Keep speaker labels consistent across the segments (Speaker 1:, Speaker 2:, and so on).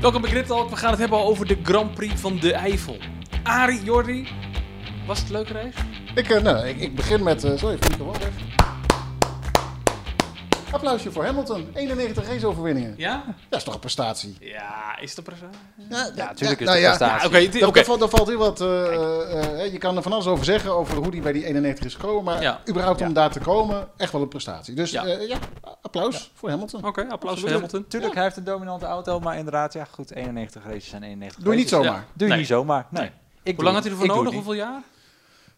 Speaker 1: Welkom bij Gridtalk. We gaan het hebben over de Grand Prix van de Eifel. Arie, Jordi, was het een leuke race?
Speaker 2: Ik, eh, nou, ik, ik begin met. eh sorry, Fieke Walder. Applausje voor Hamilton. 91 raceoverwinningen.
Speaker 1: Ja?
Speaker 2: Dat is toch een prestatie?
Speaker 1: Ja, is dat precies?
Speaker 2: Ja,
Speaker 3: Ja, natuurlijk
Speaker 2: nou
Speaker 3: is
Speaker 2: ja,
Speaker 3: het een
Speaker 1: Ja, Ah, oké.
Speaker 3: prestatie.
Speaker 1: het-
Speaker 2: Daar
Speaker 1: oké.
Speaker 2: valt, daar valt heel wat. eh, eh, eh, je kan er van alles over zeggen. Over hoe die bij die 91 is gekomen. Maar
Speaker 1: Ja.
Speaker 2: überhaupt om
Speaker 3: Ja.
Speaker 2: daar te komen, echt wel een prestatie. Dus
Speaker 1: Ja. Oh,
Speaker 2: ja, ja applaus voor Hamilton.
Speaker 1: Oké, applaus voor
Speaker 3: Tuurlijk,
Speaker 1: Hamilton.
Speaker 3: Tuurlijk, hij heeft een dominante auto, maar inderdaad, ja goed, 91 races zijn 91
Speaker 2: Doe je niet
Speaker 3: races.
Speaker 2: zomaar.
Speaker 3: Doe je
Speaker 1: Nee.
Speaker 3: niet zomaar, nee.
Speaker 1: Nee.
Speaker 3: Ik doe
Speaker 1: Hoe lang had
Speaker 3: het.
Speaker 1: hij ervoor
Speaker 3: Ik doe
Speaker 1: nodig?
Speaker 3: het niet.
Speaker 1: Hoeveel jaar?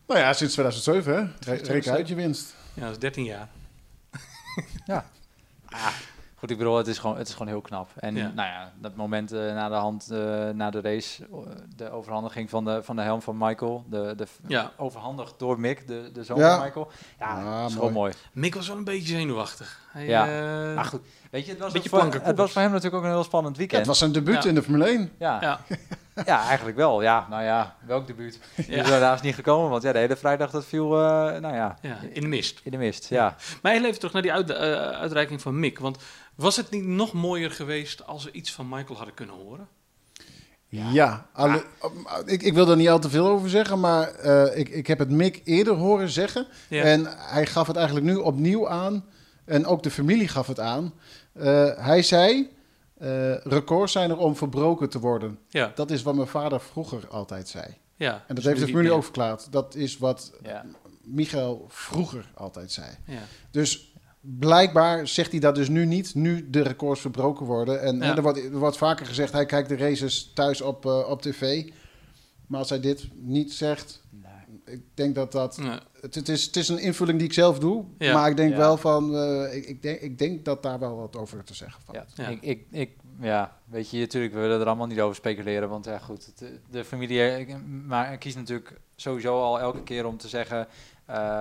Speaker 2: Nou ja, sinds 2007 hè. Re- Reken uit je winst.
Speaker 1: Ja, dat is 13 jaar.
Speaker 3: Ja. Ah, goed, ik bedoel, het is gewoon, het is gewoon heel knap. En
Speaker 1: Ja.
Speaker 3: nou ja, dat moment eh, na de hand, eh, na de race, eh, de overhandiging van de, van de helm van Michael, de, de
Speaker 1: Ja.
Speaker 3: overhandigd door Mick, de, de zoon
Speaker 2: Ja.
Speaker 3: van Michael. Ja,
Speaker 2: Ah,
Speaker 3: dat is gewoon mooi.
Speaker 1: Mick was wel een beetje zenuwachtig. Hij,
Speaker 3: Ja.
Speaker 1: eh,
Speaker 3: Maar goed, weet je, het was,
Speaker 1: Beetje
Speaker 3: voor,
Speaker 1: planken
Speaker 3: het
Speaker 1: koers.
Speaker 3: was voor hem natuurlijk ook een heel spannend
Speaker 2: Ja,
Speaker 3: weekend.
Speaker 2: het was zijn debuut
Speaker 1: Ja.
Speaker 2: in de Formule 1.
Speaker 3: ja.
Speaker 1: ja.
Speaker 3: Ja, eigenlijk wel. Ja, nou ja, welk debuut? Die
Speaker 1: Ja.
Speaker 3: is helaas niet gekomen, want ja, de hele vrijdag dat viel, eh, nou ja,
Speaker 1: Ja, in de mist.
Speaker 3: in de mist. Ja,
Speaker 1: Maar heel even terug naar die uit- eh, uitreiking van Mick. Want was het niet nog mooier geweest als we iets van Michael hadden kunnen horen?
Speaker 2: Ja, alle-
Speaker 1: Ah.
Speaker 2: ik, ik wil daar niet al te veel over zeggen, maar eh, ik, ik heb het Mick eerder horen zeggen.
Speaker 1: Ja.
Speaker 2: En hij gaf het eigenlijk nu opnieuw aan. En ook de familie gaf het aan. Eh, hij zei, eh, records zijn er om verbroken te worden.
Speaker 1: Ja,
Speaker 2: Dat is wat mijn vader vroeger altijd zei.
Speaker 1: ja.
Speaker 2: En dat
Speaker 1: Dus
Speaker 2: heeft
Speaker 1: nu
Speaker 2: de
Speaker 1: niet
Speaker 2: familie
Speaker 1: meer.
Speaker 2: ook verklaard. Dat is wat
Speaker 3: ja.
Speaker 2: Michael vroeger altijd zei.
Speaker 1: Ja.
Speaker 2: Dus blijkbaar zegt hij dat dus nu niet, nu de records verbroken worden. En
Speaker 1: Ja.
Speaker 2: hè, er, wordt, er wordt vaker gezegd, hij kijkt de races thuis op, eh, op tv. Maar als hij dit niet zegt, ik denk dat dat...
Speaker 1: Nee.
Speaker 2: Het, het is, het is een invulling die ik zelf doe,
Speaker 1: Ja.
Speaker 2: maar ik denk
Speaker 3: Ja.
Speaker 2: wel van... eh, ik, ik, denk, ik denk dat daar wel wat over te zeggen valt.
Speaker 3: ja.
Speaker 1: Ja.
Speaker 3: Ik, ik, ik, ja, weet je, natuurlijk, we willen er allemaal niet over speculeren, want ja, goed, het- de, familie eh, ik- maar kiest natuurlijk sowieso al elke keer om te zeggen, eh,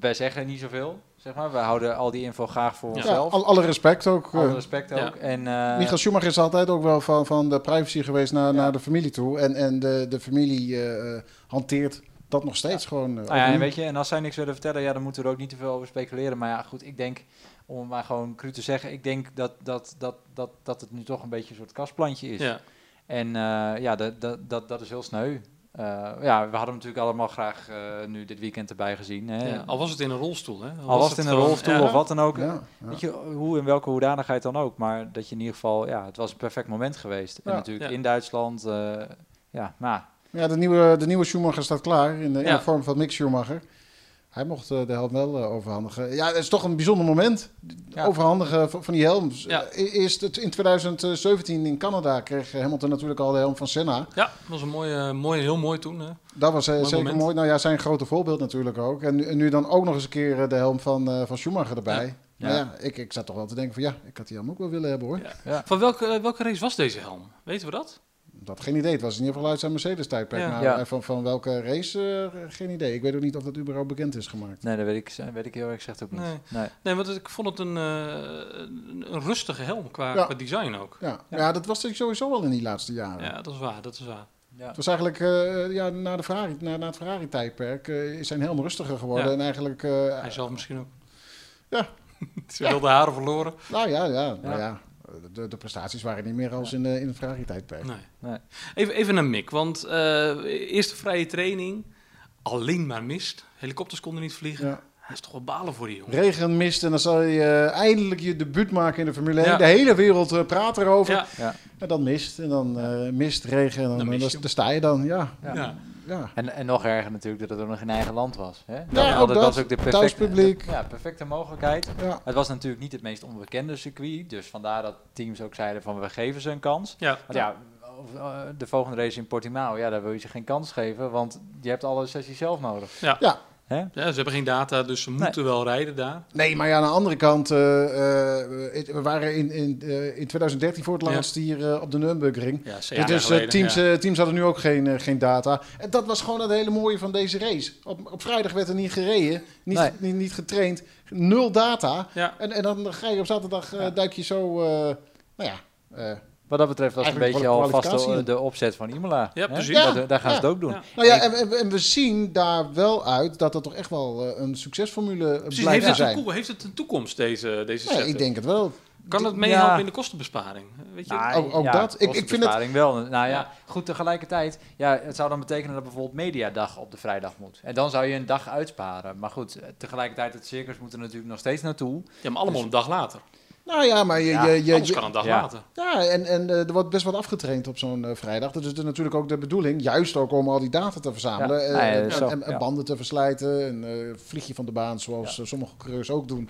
Speaker 3: wij zeggen niet zoveel, zeg maar, we houden al die info graag voor
Speaker 2: Ja,
Speaker 3: onszelf.
Speaker 2: al- alle respect ook. eh,
Speaker 3: Alle respect
Speaker 1: Ja.
Speaker 3: ook. En, eh,
Speaker 2: Michael Schumacher is altijd ook wel van, van de privacy geweest naar, naar de familie toe. En, en de, de familie eh, eh, hanteert dat nog steeds gewoon. eh,
Speaker 3: Nou ja,
Speaker 2: opnieuw.
Speaker 3: en weet je, en als zij niks willen vertellen, ja, dan moeten we er ook niet te veel over speculeren. Maar ja, goed, ik denk, om het maar gewoon cru te zeggen, ik denk dat, dat, dat, dat, dat het nu toch een beetje een soort kastplantje is.
Speaker 1: Ja.
Speaker 3: En eh, ja, dat, dat, dat, dat is heel sneu. Eh, ja, we hadden hem natuurlijk allemaal graag eh, nu dit weekend erbij gezien. Hè.
Speaker 1: Ja,
Speaker 3: al,
Speaker 1: Al was het in een rolstoel, hè? Al,
Speaker 3: eh. was het in een
Speaker 1: gewoon-
Speaker 3: rolstoel
Speaker 1: ja.
Speaker 3: of wat dan ook.
Speaker 2: Ja, ja.
Speaker 3: Weet je, hoe in welke hoedanigheid dan ook. Maar dat je in ieder geval, ja, het was een perfect moment geweest. En
Speaker 2: Ja.
Speaker 3: natuurlijk
Speaker 1: Ja.
Speaker 3: in Duitsland, eh, ja, nou,
Speaker 2: Ja, de nieuwe, de nieuwe Schumacher staat klaar in de, in
Speaker 1: Ja.
Speaker 2: de vorm van Mick Schumacher. Hij mocht eh, de helm wel eh, overhandigen. Ja, het is toch een bijzonder moment.
Speaker 3: Ja.
Speaker 2: Overhandigen van, van die helm.
Speaker 1: Ja.
Speaker 2: Eh, Eerst het- in 2017 in Canada kreeg Hamilton natuurlijk al de helm van Senna.
Speaker 1: Ja, dat was een mooie, mooie, heel mooi toen. Hè?
Speaker 2: Dat was eh,
Speaker 1: Mooi
Speaker 2: zeker
Speaker 1: moment.
Speaker 2: mooi. Nou ja, zijn grote voorbeeld natuurlijk ook. En nu, en nu dan ook nog eens een keer eh, de helm van, eh, van Schumacher erbij. Nou
Speaker 3: Ja.
Speaker 2: ja, ik, ik zat toch wel te denken van ja, ik had die helm ook wel willen hebben hoor.
Speaker 1: Ja.
Speaker 3: Ja.
Speaker 1: Van welke, eh, welke race was deze helm? Weten we dat?
Speaker 2: Dat geen idee. Het was in ieder geval uit zijn Mercedes-tijdperk.
Speaker 1: Ja.
Speaker 2: Maar
Speaker 3: Ja.
Speaker 2: eh, van, van welke race, eh, geen idee. Ik weet ook niet of dat überhaupt bekend is gemaakt.
Speaker 3: nee, dat weet ik, eh, weet ik heel erg gezegd ook niet.
Speaker 1: Nee.
Speaker 3: nee.
Speaker 1: Nee, want ik vond het een, eh, een, een rustige helm qua,
Speaker 2: Ja.
Speaker 1: qua design ook.
Speaker 2: Ja, ja.
Speaker 3: Ja.
Speaker 2: dat was natuurlijk sowieso al in die laatste jaren.
Speaker 1: Ja, dat is waar, dat is waar.
Speaker 3: Ja.
Speaker 2: Het was eigenlijk eh, ja, na, de Ferrari, na, na het Ferrari-tijdperk eh, is zijn helm rustiger geworden.
Speaker 1: Ja.
Speaker 2: En eigenlijk, eh,
Speaker 1: Hij zelf misschien ook.
Speaker 2: Ja.
Speaker 1: Ze wilde haren verloren.
Speaker 2: nou ja, ja, nou ja. De, de prestaties waren niet meer als in, de, in het Ferrari-tijdperk.
Speaker 1: Nee.
Speaker 3: Nee.
Speaker 1: Even, even naar Mick, want eh, eerste vrije training, alleen maar mist. Helikopters konden niet vliegen.
Speaker 2: Ja.
Speaker 1: Hij is toch wel balen voor die jongen.
Speaker 2: Regen, mist en dan zal je eh, eindelijk je debuut maken in de Formule 1.
Speaker 1: Ja.
Speaker 2: De hele wereld eh, praat erover.
Speaker 1: Ja,
Speaker 3: Ja.
Speaker 2: En dan mist en dan eh, mist, regen en dan,
Speaker 1: Dan
Speaker 2: dan,
Speaker 1: mis je
Speaker 2: dan,
Speaker 1: hem.
Speaker 2: sta je dan. Ja,
Speaker 1: ja.
Speaker 3: Ja.
Speaker 2: ja.
Speaker 3: En, en nog erger natuurlijk dat het ook nog in eigen land was. Hè?
Speaker 2: Ja, ook
Speaker 3: hadden-
Speaker 2: dat. Thuispubliek.
Speaker 3: de- ja, perfecte mogelijkheid.
Speaker 2: ja.
Speaker 3: Het was natuurlijk niet het meest onbekende circuit. Dus vandaar dat teams ook zeiden van we geven ze een kans.
Speaker 1: Ja.
Speaker 3: Want ja, of, eh, de volgende race in Portimao, ja, daar wil je ze geen kans geven. Want je hebt alle sessies zelf nodig.
Speaker 2: Ja.
Speaker 3: Hè?
Speaker 1: Ja, ze hebben geen data, dus ze moeten wel rijden daar.
Speaker 2: Nee, maar ja, aan de andere kant, eh, eh, het- we waren in, in, eh, in 2013 voor het
Speaker 1: Ja.
Speaker 2: laatst hier eh, op de Nürburgring.
Speaker 1: Ja,
Speaker 2: Ja, dus eh, teams, eh, teams hadden nu ook geen, eh, geen data. En dat was gewoon het hele mooie van deze race. Op, op vrijdag werd er niet gereden, niet,
Speaker 3: Nee.
Speaker 2: niet, niet getraind, nul data.
Speaker 1: Ja.
Speaker 2: En, en dan ga je op zaterdag, eh,
Speaker 3: Ja.
Speaker 2: duik je zo, eh, nou ja... eh,
Speaker 3: Wat dat betreft was het een
Speaker 2: Eigenlijk
Speaker 3: beetje
Speaker 2: wel een
Speaker 3: al vast
Speaker 2: kwalificatie.
Speaker 3: de, de opzet van Imola.
Speaker 1: Ja,
Speaker 3: hè?
Speaker 1: precies.
Speaker 2: Ja.
Speaker 3: Dat- daar gaan ze
Speaker 2: Ja.
Speaker 3: het ook doen.
Speaker 1: Ja.
Speaker 2: nou ja, en, en- en we zien daar wel uit dat dat toch echt wel eh, een succesformule eh,
Speaker 1: Precies,
Speaker 2: blijkt
Speaker 1: heeft,
Speaker 2: te
Speaker 1: het
Speaker 2: zijn.
Speaker 1: een, koe- heeft het een toekomst, deze, deze
Speaker 2: Ja,
Speaker 1: setup?
Speaker 2: ik denk het wel.
Speaker 1: Kan dat meehelpen in de kostenbesparing? Weet je?
Speaker 3: Nou,
Speaker 2: oh, Ook- ook dat. Ik- ik vind het-
Speaker 3: kostenbesparing wel. Nou ja,
Speaker 1: Ja.
Speaker 3: goed, tegelijkertijd. Ja, het zou dan betekenen dat bijvoorbeeld mediadag op de vrijdag moet. En dan zou je een dag uitsparen. Maar goed, eh, tegelijkertijd, het circus moet er natuurlijk nog steeds naartoe.
Speaker 1: ja, maar allemaal
Speaker 3: dus-
Speaker 1: een dag later.
Speaker 2: Nou ja, maar je,
Speaker 3: Ja,
Speaker 2: je, je,
Speaker 1: Alles
Speaker 2: je-
Speaker 1: kan een dag
Speaker 3: ja.
Speaker 1: later.
Speaker 2: ja, en, en eh, er wordt best wat afgetraind op zo'n eh, vrijdag. Dat is dus natuurlijk ook de bedoeling, juist ook om al die data te verzamelen
Speaker 3: Ja.
Speaker 2: eh,
Speaker 3: Nou ja,
Speaker 2: en,
Speaker 3: zo,
Speaker 2: en- en
Speaker 3: ja.
Speaker 2: banden te verslijten en eh, vlieg je van de baan, zoals eh, sommige coureurs ook doen.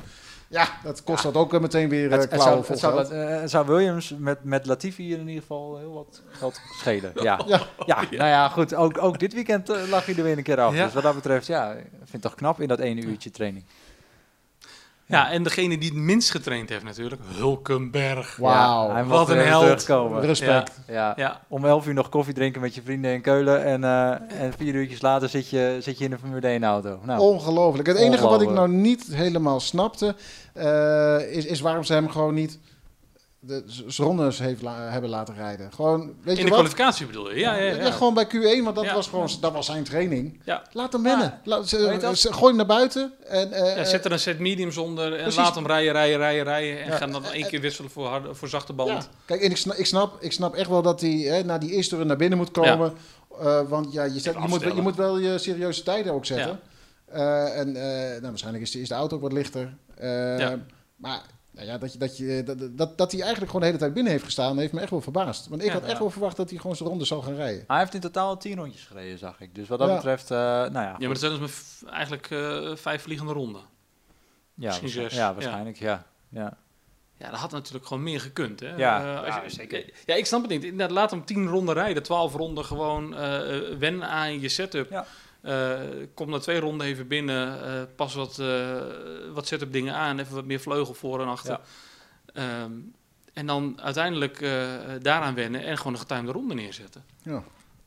Speaker 2: Ja, dat kost dat ook eh, meteen weer eh
Speaker 3: het, het, zou,
Speaker 2: klauwen
Speaker 3: het,
Speaker 2: vol
Speaker 3: zou,
Speaker 2: geld.
Speaker 3: dat- eh, het zou Williams met, met Latifi hier in ieder geval heel wat geld schelen. Ja,
Speaker 2: Ja.
Speaker 3: ja. nou ja, goed. Ook, ook dit weekend eh, lag hij er weer een keer af.
Speaker 1: Ja.
Speaker 3: Dus wat dat betreft, ja, ik vind het toch knap in dat ene uurtje training.
Speaker 1: Ja, en degene die het minst getraind heeft natuurlijk, Hulkenberg.
Speaker 2: Wauw.
Speaker 3: Ja, hij mag
Speaker 1: Wat
Speaker 3: weer
Speaker 1: een
Speaker 3: even
Speaker 1: held.
Speaker 3: terugkomen.
Speaker 2: Respect.
Speaker 3: Ja.
Speaker 1: Ja,
Speaker 3: Om 11 uur nog koffie drinken met je vrienden in Keulen. En, eh, en vier uurtjes later zit je, zit je in een Formule 1 auto. Nou,
Speaker 2: Oh. Ongelooflijk. Het enige wat ik nou
Speaker 3: Ongelooflijk.
Speaker 2: niet helemaal snapte, eh, is, is waarom ze hem gewoon niet de z- z- rondes heeft la- hebben laten rijden. Gewoon, weet
Speaker 1: in
Speaker 2: je
Speaker 1: de
Speaker 2: wat?
Speaker 1: kwalificatie bedoel je. Ja, ja, ja.
Speaker 2: Ja, gewoon bij Q1, want dat,
Speaker 1: Ja.
Speaker 2: was gewoon, dat was zijn training.
Speaker 1: Ja.
Speaker 2: Laat hem wennen. Laat- ze-
Speaker 3: Weet je dat?
Speaker 2: ze- gooi hem naar buiten. En, eh,
Speaker 1: Ja, zet er een set mediums onder en
Speaker 2: Precies.
Speaker 1: laat hem rijden, rijden, rijden, rijden. En
Speaker 2: Ja.
Speaker 1: ga hem dan één keer wisselen voor, harde, voor zachte
Speaker 2: eh,
Speaker 1: band.
Speaker 2: ja. Kijk, en ik, sna- ik, snap, ik snap echt wel dat hij hè, na die eerste run naar binnen moet komen. Eh, want ja, je, zet- je, moet, wel- je
Speaker 1: afstellen.
Speaker 2: moet wel je serieuze tijden ook zetten. Eh, en eh, nou, waarschijnlijk is de, is de auto ook wat lichter. Eh,
Speaker 1: Ja.
Speaker 2: Maar nou ja, dat, je, dat, je, dat, dat, dat hij eigenlijk gewoon de hele tijd binnen heeft gestaan, heeft me echt wel verbaasd. Want ik
Speaker 1: Ja,
Speaker 2: had echt
Speaker 3: ja.
Speaker 2: wel verwacht dat hij gewoon zijn ronde zou gaan rijden.
Speaker 3: hij heeft in totaal 10 rondjes gereden, zag ik. Dus wat dat
Speaker 2: Ja.
Speaker 3: betreft, eh, nou ja.
Speaker 1: Ja, maar dat zijn dus maar v- eigenlijk eh, vijf vliegende ronden.
Speaker 3: ja,
Speaker 1: misschien
Speaker 3: waarsch-
Speaker 1: zes.
Speaker 3: ja, waarschijnlijk, ja. ja.
Speaker 1: Ja, dat had natuurlijk gewoon meer gekund. Hè?
Speaker 3: Ja.
Speaker 1: Eh, als
Speaker 3: Ja,
Speaker 1: je-
Speaker 3: zeker.
Speaker 1: Ja, ik snap het niet. Inderdaad, laat hem tien ronden rijden, twaalf ronden gewoon eh wennen aan je setup.
Speaker 3: Ja.
Speaker 1: Eh, kom na twee ronden even binnen, eh, pas wat, eh, wat setup dingen aan, even wat meer vleugel voor en achter.
Speaker 3: Ja.
Speaker 1: Ehm, en dan uiteindelijk eh, daaraan wennen en gewoon een getimede ronde neerzetten.
Speaker 2: Ja.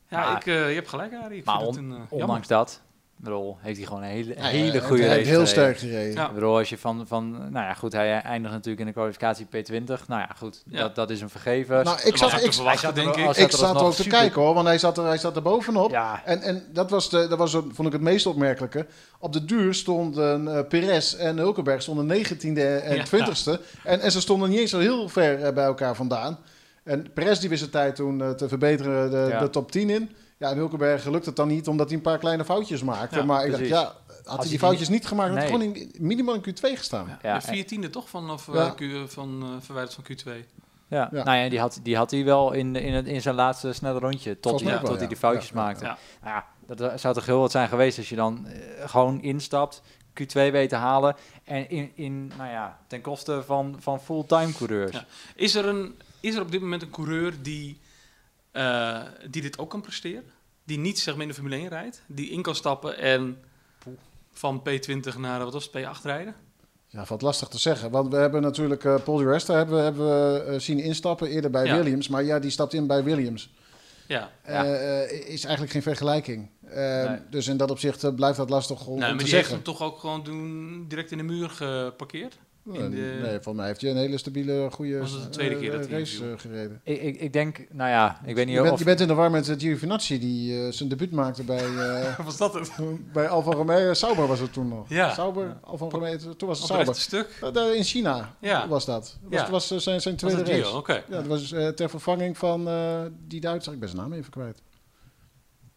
Speaker 1: Ja,
Speaker 3: Maar-
Speaker 1: ik, eh, je hebt gelijk, Arie. Ik
Speaker 3: Maar
Speaker 1: vind het een, eh, jammer.
Speaker 3: Ondanks dat, ik bedoel, heeft hij gewoon een hele,
Speaker 2: Nou ja,
Speaker 3: hele
Speaker 2: hij-
Speaker 3: goede
Speaker 2: Hij
Speaker 3: race
Speaker 2: heeft heel
Speaker 3: gereden.
Speaker 2: sterk gereden.
Speaker 1: Ja.
Speaker 3: Ik bedoel, als je van, van, nou ja, goed, hij eindigt natuurlijk in de kwalificatie P20. Nou ja, goed,
Speaker 1: Ja.
Speaker 3: dat, dat is een vergeven.
Speaker 2: Nou, ik
Speaker 1: Dat was
Speaker 2: zat,
Speaker 1: ook
Speaker 2: ik,
Speaker 1: te verwachten,
Speaker 3: zat er
Speaker 1: denk
Speaker 3: wel
Speaker 1: ik.
Speaker 3: als-
Speaker 2: ik
Speaker 3: er
Speaker 2: zat
Speaker 3: alsnog
Speaker 2: ook te
Speaker 3: super-
Speaker 2: kijken hoor, want hij zat er, hij zat er bovenop.
Speaker 3: ja,
Speaker 2: En, en dat, was de, dat was, zo- vond ik het meest opmerkelijke. Op de duur stonden eh Perez en Hulkenberg stonden 19e en
Speaker 1: Ja.
Speaker 2: 20e. En, en ze stonden niet eens zo heel ver eh, bij elkaar vandaan. En Perez die wist zijn tijd toen eh, te verbeteren de,
Speaker 3: Ja.
Speaker 2: de top 10 in. Ja, en Hulkenberg lukt het dan niet omdat hij een paar kleine foutjes maakte.
Speaker 1: Ja,
Speaker 2: maar ik
Speaker 3: precies.
Speaker 2: dacht, ja, had hij
Speaker 3: hij
Speaker 2: die
Speaker 3: die
Speaker 2: foutjes niet gemaakt, had hij
Speaker 3: Nee.
Speaker 2: gewoon in, minimaal in Q2 gestaan.
Speaker 1: Ja,
Speaker 3: Ja,
Speaker 1: de viertiende toch vanaf eh,
Speaker 2: Ja.
Speaker 1: Q, van, eh, verwijderd van Q2.
Speaker 3: ja.
Speaker 2: Ja.
Speaker 3: nou ja, die had, die had hij wel in, in, het, in zijn laatste snelle rondje. Tot,
Speaker 2: Volgens
Speaker 3: hij,
Speaker 1: mij wel,
Speaker 3: tot
Speaker 2: ja.
Speaker 3: hij die foutjes
Speaker 2: Ja, ja,
Speaker 3: maakte.
Speaker 1: ja.
Speaker 3: Nou ja, dat eh, zou toch heel wat zijn geweest als je dan eh, gewoon instapt, Q2 weet te halen. En in, in, nou ja, ten koste van, van fulltime coureurs.
Speaker 1: Ja. Is er, een, is er op dit moment een coureur die, eh, die dit ook kan presteren? Die niet zeg maar in de Formule 1 rijdt? Die in kan stappen en van P20 naar eh, wat was het, P8 rijden?
Speaker 2: Ja, valt lastig te zeggen. Want we hebben natuurlijk eh, Paul de Resta hebben, hebben we eh, zien instappen eerder bij
Speaker 1: Ja.
Speaker 2: Williams. Maar ja, die stapt in bij Williams.
Speaker 1: Ja.
Speaker 3: Ja.
Speaker 2: Eh, eh, is eigenlijk geen vergelijking. Eh,
Speaker 3: Nee.
Speaker 2: Dus in dat opzicht eh, blijft dat lastig om,
Speaker 1: Nee,
Speaker 2: om
Speaker 1: Nou, maar
Speaker 2: te
Speaker 1: die heeft
Speaker 2: zeggen.
Speaker 1: hem toch ook gewoon doen, direct in de muur geparkeerd? in de-
Speaker 2: Eh, Nee, volgens mij heeft hij een hele stabiele, goede
Speaker 1: Was het de tweede
Speaker 2: eh,
Speaker 1: keer dat hij
Speaker 2: race
Speaker 1: inviel?
Speaker 2: eh, gereden.
Speaker 3: Ik, ik, ik denk, nou ja, ik weet niet
Speaker 2: Je bent,
Speaker 3: of...
Speaker 2: je bent in de war met eh, Giovinazzi, die eh, zijn debuut maakte bij, eh,
Speaker 1: Was dat het?
Speaker 2: bij Alfa Romeo. Eh, Sauber was het toen nog.
Speaker 1: Ja.
Speaker 2: Sauber, Alfa Romeo, toen was het
Speaker 1: Op het rechte
Speaker 2: Sauber.
Speaker 1: stuk?
Speaker 2: Eh, daar in China
Speaker 1: Ja.
Speaker 2: was dat. Dat was,
Speaker 1: Ja.
Speaker 2: was, eh, zijn, zijn
Speaker 1: Was
Speaker 2: tweede
Speaker 1: het duo,
Speaker 2: race.
Speaker 1: oké.
Speaker 2: Ja, dat was eh, ter vervanging van eh, die Duitser. Ik ben zijn naam even kwijt.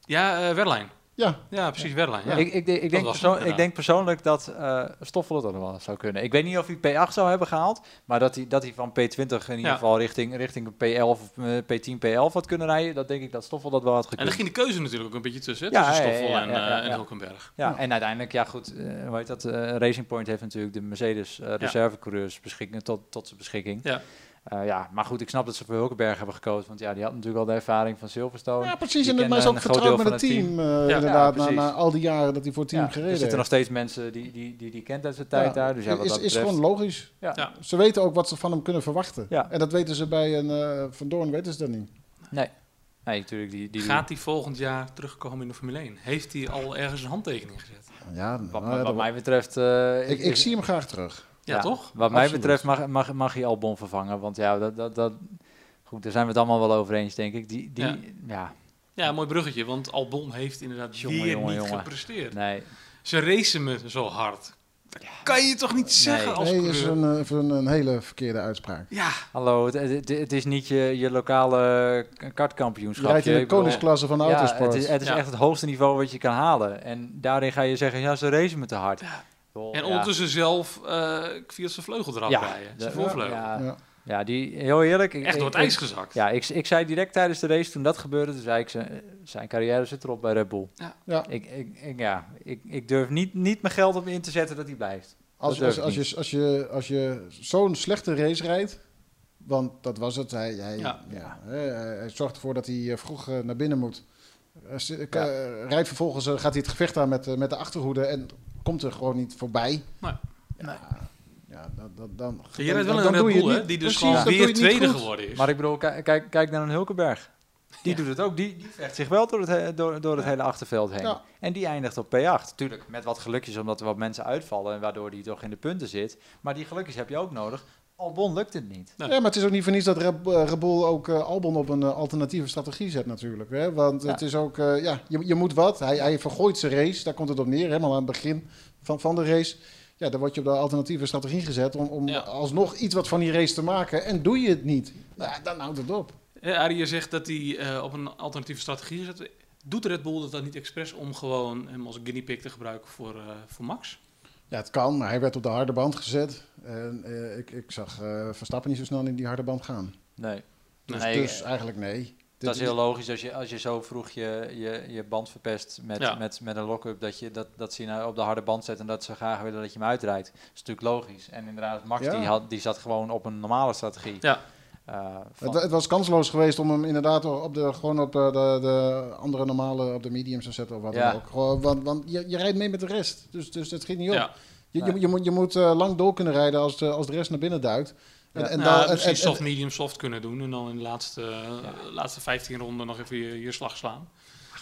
Speaker 1: Ja, eh Werlein.
Speaker 2: Ja,
Speaker 1: Ja, precies, Werlein. Ja.
Speaker 3: Ik, ik, denk- ik, denk
Speaker 1: was
Speaker 3: persoon-
Speaker 1: hem, ja.
Speaker 3: ik denk persoonlijk dat eh Stoffel het dan wel zou kunnen. Ik weet niet of hij P8 zou hebben gehaald, maar dat hij, dat hij van P20 in ieder
Speaker 1: Ja.
Speaker 3: geval richting, richting P11 of eh, P10, P11 had kunnen rijden. Dat denk ik dat Stoffel dat wel had
Speaker 1: En
Speaker 3: gekund.
Speaker 1: daar ging de keuze natuurlijk ook een beetje tussen, hè,
Speaker 3: Ja,
Speaker 1: tussen
Speaker 3: ja, ja,
Speaker 1: Stoffel
Speaker 3: ja,
Speaker 1: en,
Speaker 3: ja, ja,
Speaker 1: eh, en
Speaker 3: ja.
Speaker 1: Hulkenberg.
Speaker 3: Ja,
Speaker 2: Ja.
Speaker 3: en uiteindelijk, ja goed, eh, hoe heet dat? eh, Racing Point heeft natuurlijk de Mercedes eh, reservecoureurs beschikking, tot, tot zijn beschikking.
Speaker 1: Ja.
Speaker 3: Eh, ja, maar goed, ik snap dat ze voor Hulkenberg hebben gekozen, want ja, die had natuurlijk al de ervaring van Silverstone.
Speaker 2: Ja, precies.
Speaker 3: Die
Speaker 2: En het- maar is
Speaker 3: kennen
Speaker 2: ook
Speaker 3: eh, een groot
Speaker 2: vertrouwd
Speaker 3: deel
Speaker 2: met het
Speaker 3: van het
Speaker 2: team, eh,
Speaker 1: Ja.
Speaker 2: inderdaad,
Speaker 3: Ja,
Speaker 2: na,
Speaker 3: precies.
Speaker 2: na al die jaren dat hij voor het team
Speaker 3: Ja,
Speaker 2: gereden heeft.
Speaker 3: er zitten nog steeds mensen die die, die, die kent uit zijn tijd
Speaker 2: Ja.
Speaker 3: daar. Dus ja, wat
Speaker 2: is,
Speaker 3: dat
Speaker 2: is
Speaker 3: betreft-
Speaker 2: gewoon logisch.
Speaker 3: Ja.
Speaker 1: Ja.
Speaker 2: Ze weten ook wat ze van hem kunnen verwachten.
Speaker 3: Ja.
Speaker 2: En dat weten ze bij een eh, Van Doorn, weten ze dat niet.
Speaker 3: Nee, natuurlijk, die, die,
Speaker 1: Gaat hij volgend jaar terugkomen in de Formule 1? Heeft hij al ergens een handtekening gezet?
Speaker 2: Ja,
Speaker 3: Wat,
Speaker 2: nou,
Speaker 3: wat
Speaker 2: dat-
Speaker 3: mij betreft... eh,
Speaker 2: ik, ik zie hem graag terug.
Speaker 1: Ja, toch?
Speaker 3: Wat mij
Speaker 2: Absoluut.
Speaker 3: betreft mag, mag, mag hij Albon vervangen. Want ja, dat, dat, dat, goed, daar zijn we het allemaal wel over eens, denk ik. Die, die,
Speaker 1: Ja.
Speaker 3: ja.
Speaker 1: Ja, mooi bruggetje, want Albon heeft inderdaad
Speaker 3: Jongen,
Speaker 1: weer
Speaker 3: jongen,
Speaker 1: niet
Speaker 3: jongen.
Speaker 1: gepresteerd.
Speaker 3: nee.
Speaker 1: Ze racen me zo hard. Kan je toch niet zeggen als
Speaker 2: Nee, is
Speaker 1: coureur?
Speaker 2: een, eh, een, een hele verkeerde uitspraak.
Speaker 1: Ja,
Speaker 3: Hallo, het, het, het is niet je, je lokale k-
Speaker 2: Je
Speaker 3: kartkampioenschap.
Speaker 2: rijdt in
Speaker 3: Je-
Speaker 2: de
Speaker 3: ik bedoel-
Speaker 2: koningsklasse van de
Speaker 3: Ja,
Speaker 2: autosport.
Speaker 3: het is, het is
Speaker 1: Ja.
Speaker 3: echt het hoogste niveau wat je kan halen. En daarin ga je zeggen, ja, ze racen me te hard.
Speaker 1: Ja.
Speaker 3: Wel,
Speaker 1: en
Speaker 3: ja.
Speaker 1: ondertussen zelf eh via zijn vleugel eraf
Speaker 3: Ja,
Speaker 1: rijden. Zijn
Speaker 3: de-
Speaker 1: voorvleugel.
Speaker 3: ja.
Speaker 2: ja.
Speaker 3: Ja, die, heel eerlijk. ik-
Speaker 1: Echt door het
Speaker 3: ik-
Speaker 1: ijs
Speaker 3: ik-
Speaker 1: gezakt.
Speaker 3: Ja, ik, ik zei direct tijdens de race, toen dat gebeurde, toen zei ik, ze- zijn carrière zit erop bij Red Bull.
Speaker 2: Ja.
Speaker 3: Ik, ik, ik, ja, ik, ik durf niet, niet mijn geld op in te zetten dat hij blijft.
Speaker 2: Als,
Speaker 3: Dat
Speaker 2: als,
Speaker 3: durf
Speaker 2: als,
Speaker 3: ik
Speaker 2: je, als, je, als je zo'n slechte race rijdt, want dat was het. Hij, hij,
Speaker 1: Ja.
Speaker 2: ja. hè, hij hij zorgt ervoor dat hij eh, vroeg eh, naar binnen moet. Eh, s- eh, ka- eh, rijdt vervolgens, eh, gaat hij het gevecht aan met, eh, met de achterhoede en komt er gewoon niet voorbij.
Speaker 1: Nee.
Speaker 2: Ja, ja, dan, dan, dan,
Speaker 1: Ja, Jij bent wel
Speaker 2: dan-
Speaker 1: een
Speaker 2: dan doe
Speaker 1: Red
Speaker 2: je
Speaker 1: Bull,
Speaker 2: het
Speaker 1: hè?
Speaker 2: niet-
Speaker 1: Die dus
Speaker 2: precies,
Speaker 1: gewoon
Speaker 2: dan doe je
Speaker 1: weer
Speaker 2: het niet
Speaker 1: tweede
Speaker 2: goed.
Speaker 1: geworden is.
Speaker 3: Maar ik bedoel, ki- kijk, kijk naar een Hulkenberg. Die
Speaker 1: Ja.
Speaker 3: doet het ook. Die, die vecht zich wel door het, he- door, door het hele achterveld heen.
Speaker 2: Ja.
Speaker 3: En die eindigt op P8. Tuurlijk, met wat gelukjes, omdat er wat mensen uitvallen... en waardoor die toch in de punten zit. Maar die gelukjes heb je ook nodig. Albon lukt het niet.
Speaker 2: Ja, maar het is ook niet voor niets dat Red, eh, Red Bull ook eh, Albon op een eh, alternatieve strategie zet natuurlijk. Hè? Want
Speaker 3: Ja.
Speaker 2: het is ook, eh, ja, je, je moet wat. Hij, hij vergooit zijn race, daar komt het op neer, helemaal aan het begin van, van de race. Ja, dan word je op de alternatieve strategie gezet om, om
Speaker 1: Ja.
Speaker 2: alsnog iets wat van die race te maken. En doe je het niet, nou, dan houdt het op.
Speaker 1: Eh, Arie, je zegt dat hij eh, op een alternatieve strategie zit. Doet Red Bull dat dan niet expres om gewoon hem als guinea pig te gebruiken voor, eh, voor Max?
Speaker 2: Ja, het kan, maar hij werd op de harde band gezet. En eh, ik, ik zag eh, Verstappen niet zo snel in die harde band gaan.
Speaker 3: Nee.
Speaker 2: Dus,
Speaker 3: Nee,
Speaker 2: dus
Speaker 3: eh,
Speaker 2: eigenlijk nee.
Speaker 3: Dat
Speaker 2: Dit
Speaker 3: is heel logisch als je, als je zo vroeg je, je, je band verpest met,
Speaker 1: Ja.
Speaker 3: met, met een lock-up. Dat, je, dat, dat ze je nou op de harde band zetten en dat ze graag willen dat je hem uitrijdt. Dat is natuurlijk logisch. En inderdaad, Max
Speaker 2: Ja.
Speaker 3: die, had, die zat gewoon op een normale strategie.
Speaker 1: Ja.
Speaker 3: Eh, van-
Speaker 2: Het, het was kansloos geweest om hem inderdaad op de, gewoon op eh, de, de andere normale, op de mediums te zetten of wat
Speaker 3: Ja.
Speaker 2: dan ook. Gewoon, want want je, je rijdt mee met de rest, dus, dus dat schiet niet op.
Speaker 1: Ja,
Speaker 2: Je, je,
Speaker 3: Nee.
Speaker 2: je moet, je moet eh, lang door kunnen rijden als de, als de rest naar binnen duikt. En,
Speaker 3: Ja.
Speaker 2: en
Speaker 1: Nou,
Speaker 2: daar- en-
Speaker 1: misschien
Speaker 2: en-
Speaker 1: soft, medium, soft kunnen doen. En dan in de laatste, eh,
Speaker 3: Ja.
Speaker 1: laatste 15 ronden nog even je, je slag slaan.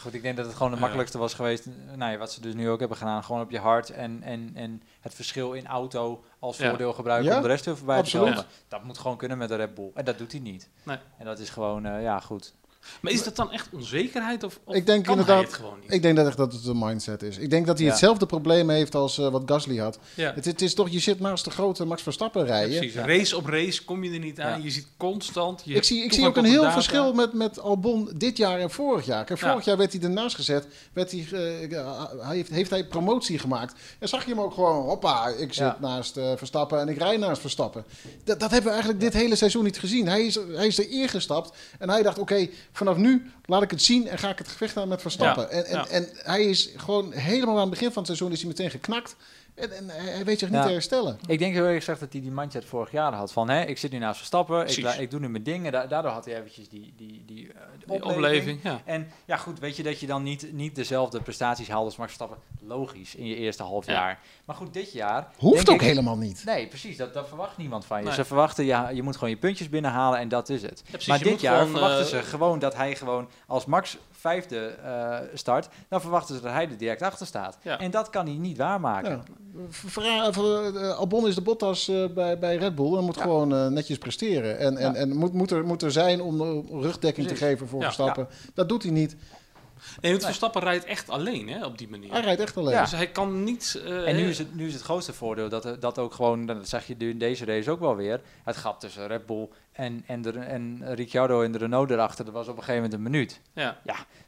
Speaker 3: Goed, ik denk dat het gewoon het
Speaker 1: Ja.
Speaker 3: makkelijkste was geweest. Nou ja, wat ze dus nu ook hebben gedaan. Gewoon op je hart en, en, en het verschil in auto als
Speaker 1: Ja.
Speaker 3: voordeel gebruiken
Speaker 2: Ja,
Speaker 3: om de rest heel voorbij
Speaker 2: absoluut.
Speaker 3: te komen. Dat moet gewoon kunnen met de Red Bull. En dat doet hij niet.
Speaker 1: Nee.
Speaker 3: En dat is gewoon, eh, ja goed.
Speaker 1: Maar is dat dan echt onzekerheid? Of, of
Speaker 2: Ik denk
Speaker 1: kan hij
Speaker 2: inderdaad-
Speaker 1: het gewoon niet?
Speaker 2: ik denk dat echt dat het een mindset is. Ik denk dat hij
Speaker 3: Ja.
Speaker 2: hetzelfde probleem heeft als eh, wat Gasly had.
Speaker 1: ja.
Speaker 2: Het, het is toch, je zit naast de grote Max Verstappen
Speaker 1: Ja,
Speaker 2: rijden.
Speaker 1: precies.
Speaker 3: Ja.
Speaker 1: Race op race kom je er niet aan.
Speaker 3: Ja.
Speaker 1: Je ziet constant. Je
Speaker 2: Ik
Speaker 1: hebt
Speaker 2: zie, ik zie
Speaker 1: toegang
Speaker 2: ook een
Speaker 1: tot de
Speaker 2: heel
Speaker 1: data.
Speaker 2: verschil met, met Albon dit jaar en vorig jaar. Kijk,
Speaker 1: Ja.
Speaker 2: vorig jaar werd hij ernaast gezet. Werd hij, eh, ja, hij heeft, heeft hij promotie gemaakt. En zag je hem ook gewoon, hoppa, ik zit
Speaker 3: Ja.
Speaker 2: naast eh, Verstappen en ik rij naast Verstappen. Dat, dat hebben we eigenlijk dit hele seizoen niet gezien. Hij is, hij is erin gestapt en hij dacht, oké, vanaf nu laat ik het zien en ga ik het gevecht aan met Verstappen.
Speaker 1: Ja.
Speaker 2: En, en,
Speaker 1: Ja.
Speaker 2: en hij is gewoon helemaal aan het begin van het seizoen is hij meteen geknakt. En, en hij hij weet zich niet
Speaker 3: Ja.
Speaker 2: te herstellen.
Speaker 3: Ik denk heel erg gezegd dat hij die mindset vorig jaar had. Van, hè, ik zit nu naast Verstappen. Ik,
Speaker 1: Precies.
Speaker 3: la- ik doe nu mijn dingen. Da- daardoor had hij eventjes die, die, die, eh, de
Speaker 1: Die
Speaker 3: opleving.
Speaker 1: opleving. Ja.
Speaker 3: En ja, goed, weet je dat je dan niet, niet dezelfde prestaties haalt als Max Verstappen? Logisch, in je eerste half
Speaker 1: Ja.
Speaker 3: jaar. Maar goed, dit jaar...
Speaker 2: Hoeft
Speaker 3: denk
Speaker 2: ook
Speaker 3: ik-
Speaker 2: helemaal niet.
Speaker 3: Nee, precies. Dat, dat verwacht niemand van je.
Speaker 1: Nee.
Speaker 3: Ze verwachten, ja, je moet gewoon je puntjes binnenhalen en dat is het.
Speaker 1: Ja, precies,
Speaker 3: maar
Speaker 1: je
Speaker 3: dit
Speaker 1: moet
Speaker 3: jaar
Speaker 1: gewoon,
Speaker 3: verwachten
Speaker 1: eh,
Speaker 3: ze gewoon dat hij gewoon, als Max vijfde eh, start, dan verwachten ze dat hij er direct achter staat.
Speaker 1: Ja.
Speaker 3: En dat kan hij niet waarmaken.
Speaker 2: Ja. Verra- ver- eh, Albon is de Bottas eh, bij, bij Red Bull en moet
Speaker 3: Ja.
Speaker 2: gewoon eh, netjes presteren. En, en,
Speaker 3: Ja.
Speaker 2: en moet, moet, er, moet er zijn om eh, rugdekking te
Speaker 3: Precies.
Speaker 2: geven voor
Speaker 1: Ja.
Speaker 2: Verstappen. Dat doet hij niet.
Speaker 1: Nee, want
Speaker 3: Nee.
Speaker 1: Verstappen rijdt echt alleen hè, op die
Speaker 2: Hij
Speaker 1: manier.
Speaker 2: rijdt echt alleen.
Speaker 3: Ja.
Speaker 1: Dus hij kan niet... eh,
Speaker 3: En nu is, het, nu is het grootste voordeel dat, er- dat ook gewoon, dat zag je nu in deze race ook wel weer, het gat tussen Red Bull en, en, de, en Ricciardo en de Renault erachter, dat was op een gegeven moment een minuut.
Speaker 1: Ja.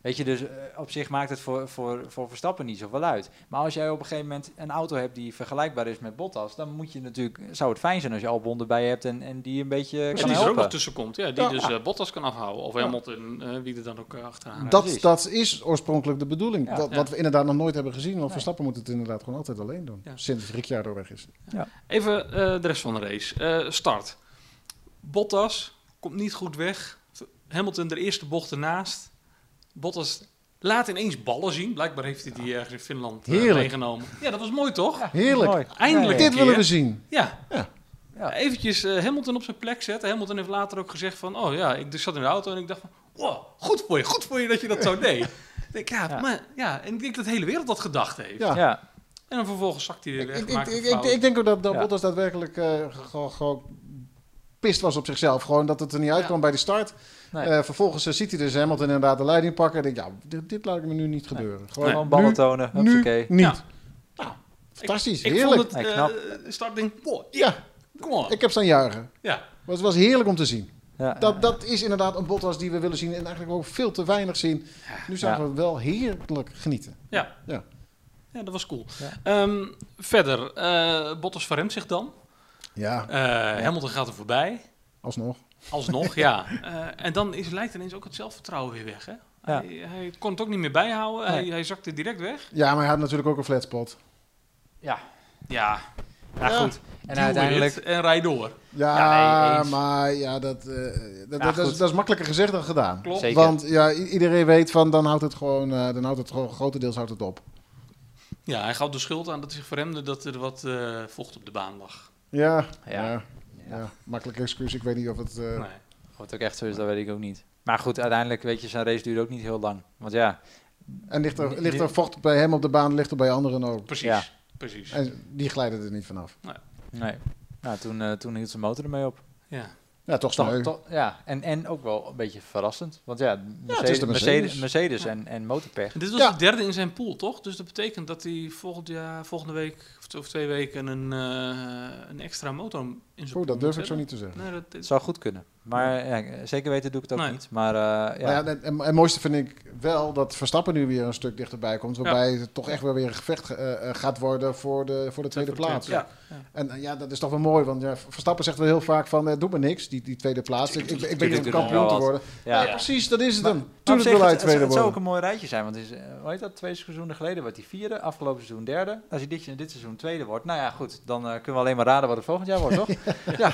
Speaker 3: Weet je, dus eh, op zich maakt het voor, voor, voor Verstappen niet zoveel uit. Maar als jij op een gegeven moment een auto hebt die vergelijkbaar is met Bottas, dan moet je natuurlijk, zou het fijn zijn als je Albon erbij hebt en, en die een beetje
Speaker 1: En
Speaker 3: kan
Speaker 1: die er ook nog
Speaker 3: helpen.
Speaker 1: tussen komt. Ja, die
Speaker 2: Ja.
Speaker 1: dus eh, Bottas kan afhouden. Of Hamilton, eh, wie er dan ook eh, achteraan rijdt.
Speaker 2: Dat,
Speaker 3: precies.
Speaker 2: dat is oorspronkelijk de bedoeling.
Speaker 3: Ja.
Speaker 2: wat,
Speaker 1: Ja.
Speaker 2: wat we inderdaad nog nooit hebben gezien. Want
Speaker 3: Nee.
Speaker 2: Verstappen moet het inderdaad gewoon altijd alleen doen.
Speaker 1: Ja.
Speaker 2: Sinds Ricciardo weg is.
Speaker 1: Even eh, de rest van de race. Eh, start. Bottas komt niet goed weg. Hamilton de eerste bocht ernaast. Bottas laat ineens ballen zien. Blijkbaar heeft hij die ergens in Finland eh,
Speaker 2: Heerlijk.
Speaker 1: meegenomen. Ja, dat was mooi toch? Ja.
Speaker 2: Heerlijk.
Speaker 3: Mooi.
Speaker 1: Eindelijk.
Speaker 2: Dit
Speaker 1: Keer.
Speaker 2: willen we zien.
Speaker 3: Ja.
Speaker 1: Eventjes eh, Hamilton op zijn plek zetten. Hamilton heeft later ook gezegd van... Oh ja, ik dus zat in de auto en ik dacht van... Wow, goed voor je. Goed voor je dat je dat zo deed. Ik denk, ja,
Speaker 3: Ja.
Speaker 1: Maar, ja, en ik denk dat de hele wereld dat gedacht heeft.
Speaker 2: Ja.
Speaker 3: Ja.
Speaker 1: En dan vervolgens zakt hij weer
Speaker 2: Ik,
Speaker 1: weg.
Speaker 2: ik,
Speaker 1: maakt een
Speaker 2: ik, ik,
Speaker 1: fout.
Speaker 2: ik denk ook dat, dat
Speaker 3: Ja.
Speaker 2: Bottas daadwerkelijk eh, gewoon- gewoon pist was op zichzelf. Gewoon dat het er niet uitkwam
Speaker 1: Ja.
Speaker 2: bij de start.
Speaker 3: Nee.
Speaker 2: Eh, vervolgens eh, ziet hij dus Hamilton inderdaad de leiding pakken. En denkt, ja, dit, dit laat ik me nu niet gebeuren. Gewoon
Speaker 3: Gewoon ballen tonen,
Speaker 2: nu
Speaker 3: Oké.
Speaker 2: niet.
Speaker 1: Ja.
Speaker 2: Fantastisch,
Speaker 1: ik, ik
Speaker 2: heerlijk.
Speaker 1: vond het
Speaker 3: Ja,
Speaker 1: eh,
Speaker 3: knap.
Speaker 1: startding, wow,
Speaker 2: ja,
Speaker 1: come on.
Speaker 2: ik heb staan juichen.
Speaker 1: ja,
Speaker 2: Maar het was heerlijk om te zien.
Speaker 3: Ja,
Speaker 2: Dat, dat is inderdaad een Bottas die we willen zien en eigenlijk ook veel te weinig zien. Nu zagen
Speaker 3: Ja.
Speaker 2: we wel heerlijk genieten.
Speaker 1: ja, dat was cool.
Speaker 3: Ja.
Speaker 1: Ehm, verder, eh Bottas verremt zich dan.
Speaker 2: Ja,
Speaker 1: Eh, Hamilton gaat er voorbij.
Speaker 2: alsnog.
Speaker 1: Alsnog, ja. Eh, en dan is, lijkt ineens ook het zelfvertrouwen weer weg. Hè? Hij, hij kon het ook niet meer bijhouden. Hij,
Speaker 3: Nee.
Speaker 1: hij zakte direct weg.
Speaker 2: Ja, maar hij had natuurlijk ook een flatspot.
Speaker 3: ja.
Speaker 1: Ja,
Speaker 3: Nou,
Speaker 2: Ja.
Speaker 3: goed. En
Speaker 1: en uiteindelijk.
Speaker 3: uiteindelijk...
Speaker 1: en rij door.
Speaker 2: Ja,
Speaker 3: Ja, nee, eens.
Speaker 2: maar ja, dat, eh, dat,
Speaker 3: Ja,
Speaker 2: dat, dat is,
Speaker 3: goed.
Speaker 2: dat is makkelijker gezegd dan gedaan.
Speaker 1: Klopt.
Speaker 3: Zeker.
Speaker 2: Want ja, i- iedereen weet van dan houdt het gewoon, eh, dan houdt het gewoon, grotendeels houdt het op.
Speaker 1: Ja, hij gaf de schuld aan dat hij zich verremde dat er wat eh, vocht op de baan lag.
Speaker 2: Ja, ja.
Speaker 3: Ja.
Speaker 2: ja. makkelijk excuus. Ik weet niet of het. eh,
Speaker 1: Nee.
Speaker 3: Of het ook echt zo is, dat weet ik ook niet. Maar goed, uiteindelijk, weet je, zijn race duurde ook niet heel lang. Want ja,
Speaker 2: En ligt er,
Speaker 3: Nee,
Speaker 2: ligt er
Speaker 3: nee.
Speaker 2: vocht bij hem op de baan, ligt er bij anderen ook.
Speaker 1: Precies,
Speaker 3: Ja.
Speaker 1: precies.
Speaker 2: En die glijden er niet vanaf.
Speaker 3: nee. Nou, toen, eh, toen hield zijn motor ermee op.
Speaker 1: Ja.
Speaker 2: Ja, toch
Speaker 3: Toch,
Speaker 2: sneu.
Speaker 3: toch, ja, en, en ook wel een beetje verrassend. Want ja,
Speaker 2: het is
Speaker 3: Mercedes,
Speaker 2: de Mercedes.
Speaker 3: Mercedes, Mercedes en, en motorpech.
Speaker 1: En dit was
Speaker 2: Ja.
Speaker 1: de derde in zijn pool, toch? Dus dat betekent dat hij volgend jaar, volgende week of t- of twee weken een, eh, een extra motor in zijn pool
Speaker 2: Oeh, dat
Speaker 1: moet
Speaker 2: durf ik zo
Speaker 1: hebben.
Speaker 2: niet te zeggen.
Speaker 1: Nee, dat
Speaker 3: Het
Speaker 1: is...
Speaker 3: zou goed kunnen. Maar ja, zeker weten doe ik het ook
Speaker 1: Nee.
Speaker 3: niet. Maar eh, ja,
Speaker 2: Nou ja, en, en het mooiste vind ik wel dat Verstappen nu weer een stuk dichterbij komt. Waarbij het toch echt wel weer een gevecht eh, eh, gaat worden voor de, voor de tweede plaats.
Speaker 1: Ja.
Speaker 2: En eh, ja, dat is toch wel mooi. Want ja, Verstappen zegt wel heel vaak van, eh doe me niks, die, die tweede plaats. Ik, ik, ik ben
Speaker 1: Tuurlijk
Speaker 2: hier om
Speaker 1: doet hij
Speaker 2: kampioen
Speaker 3: wel
Speaker 2: te
Speaker 3: wat.
Speaker 2: worden. Ja,
Speaker 3: ja.
Speaker 2: precies, dat is het
Speaker 3: Maar-
Speaker 2: hem.
Speaker 3: Maar op
Speaker 2: Tuurlijk
Speaker 3: zich,
Speaker 2: wil hij
Speaker 3: het- het,
Speaker 2: tweede
Speaker 3: het zou ook
Speaker 2: worden.
Speaker 3: een mooi rijtje zijn. Want het is, eh, hoe heet dat, twee seizoenen geleden werd hij vierde, afgelopen seizoen derde. Als hij dit, dit seizoen tweede wordt, nou ja, goed. Dan eh, kunnen we alleen maar raden wat het volgend jaar wordt, toch? ja.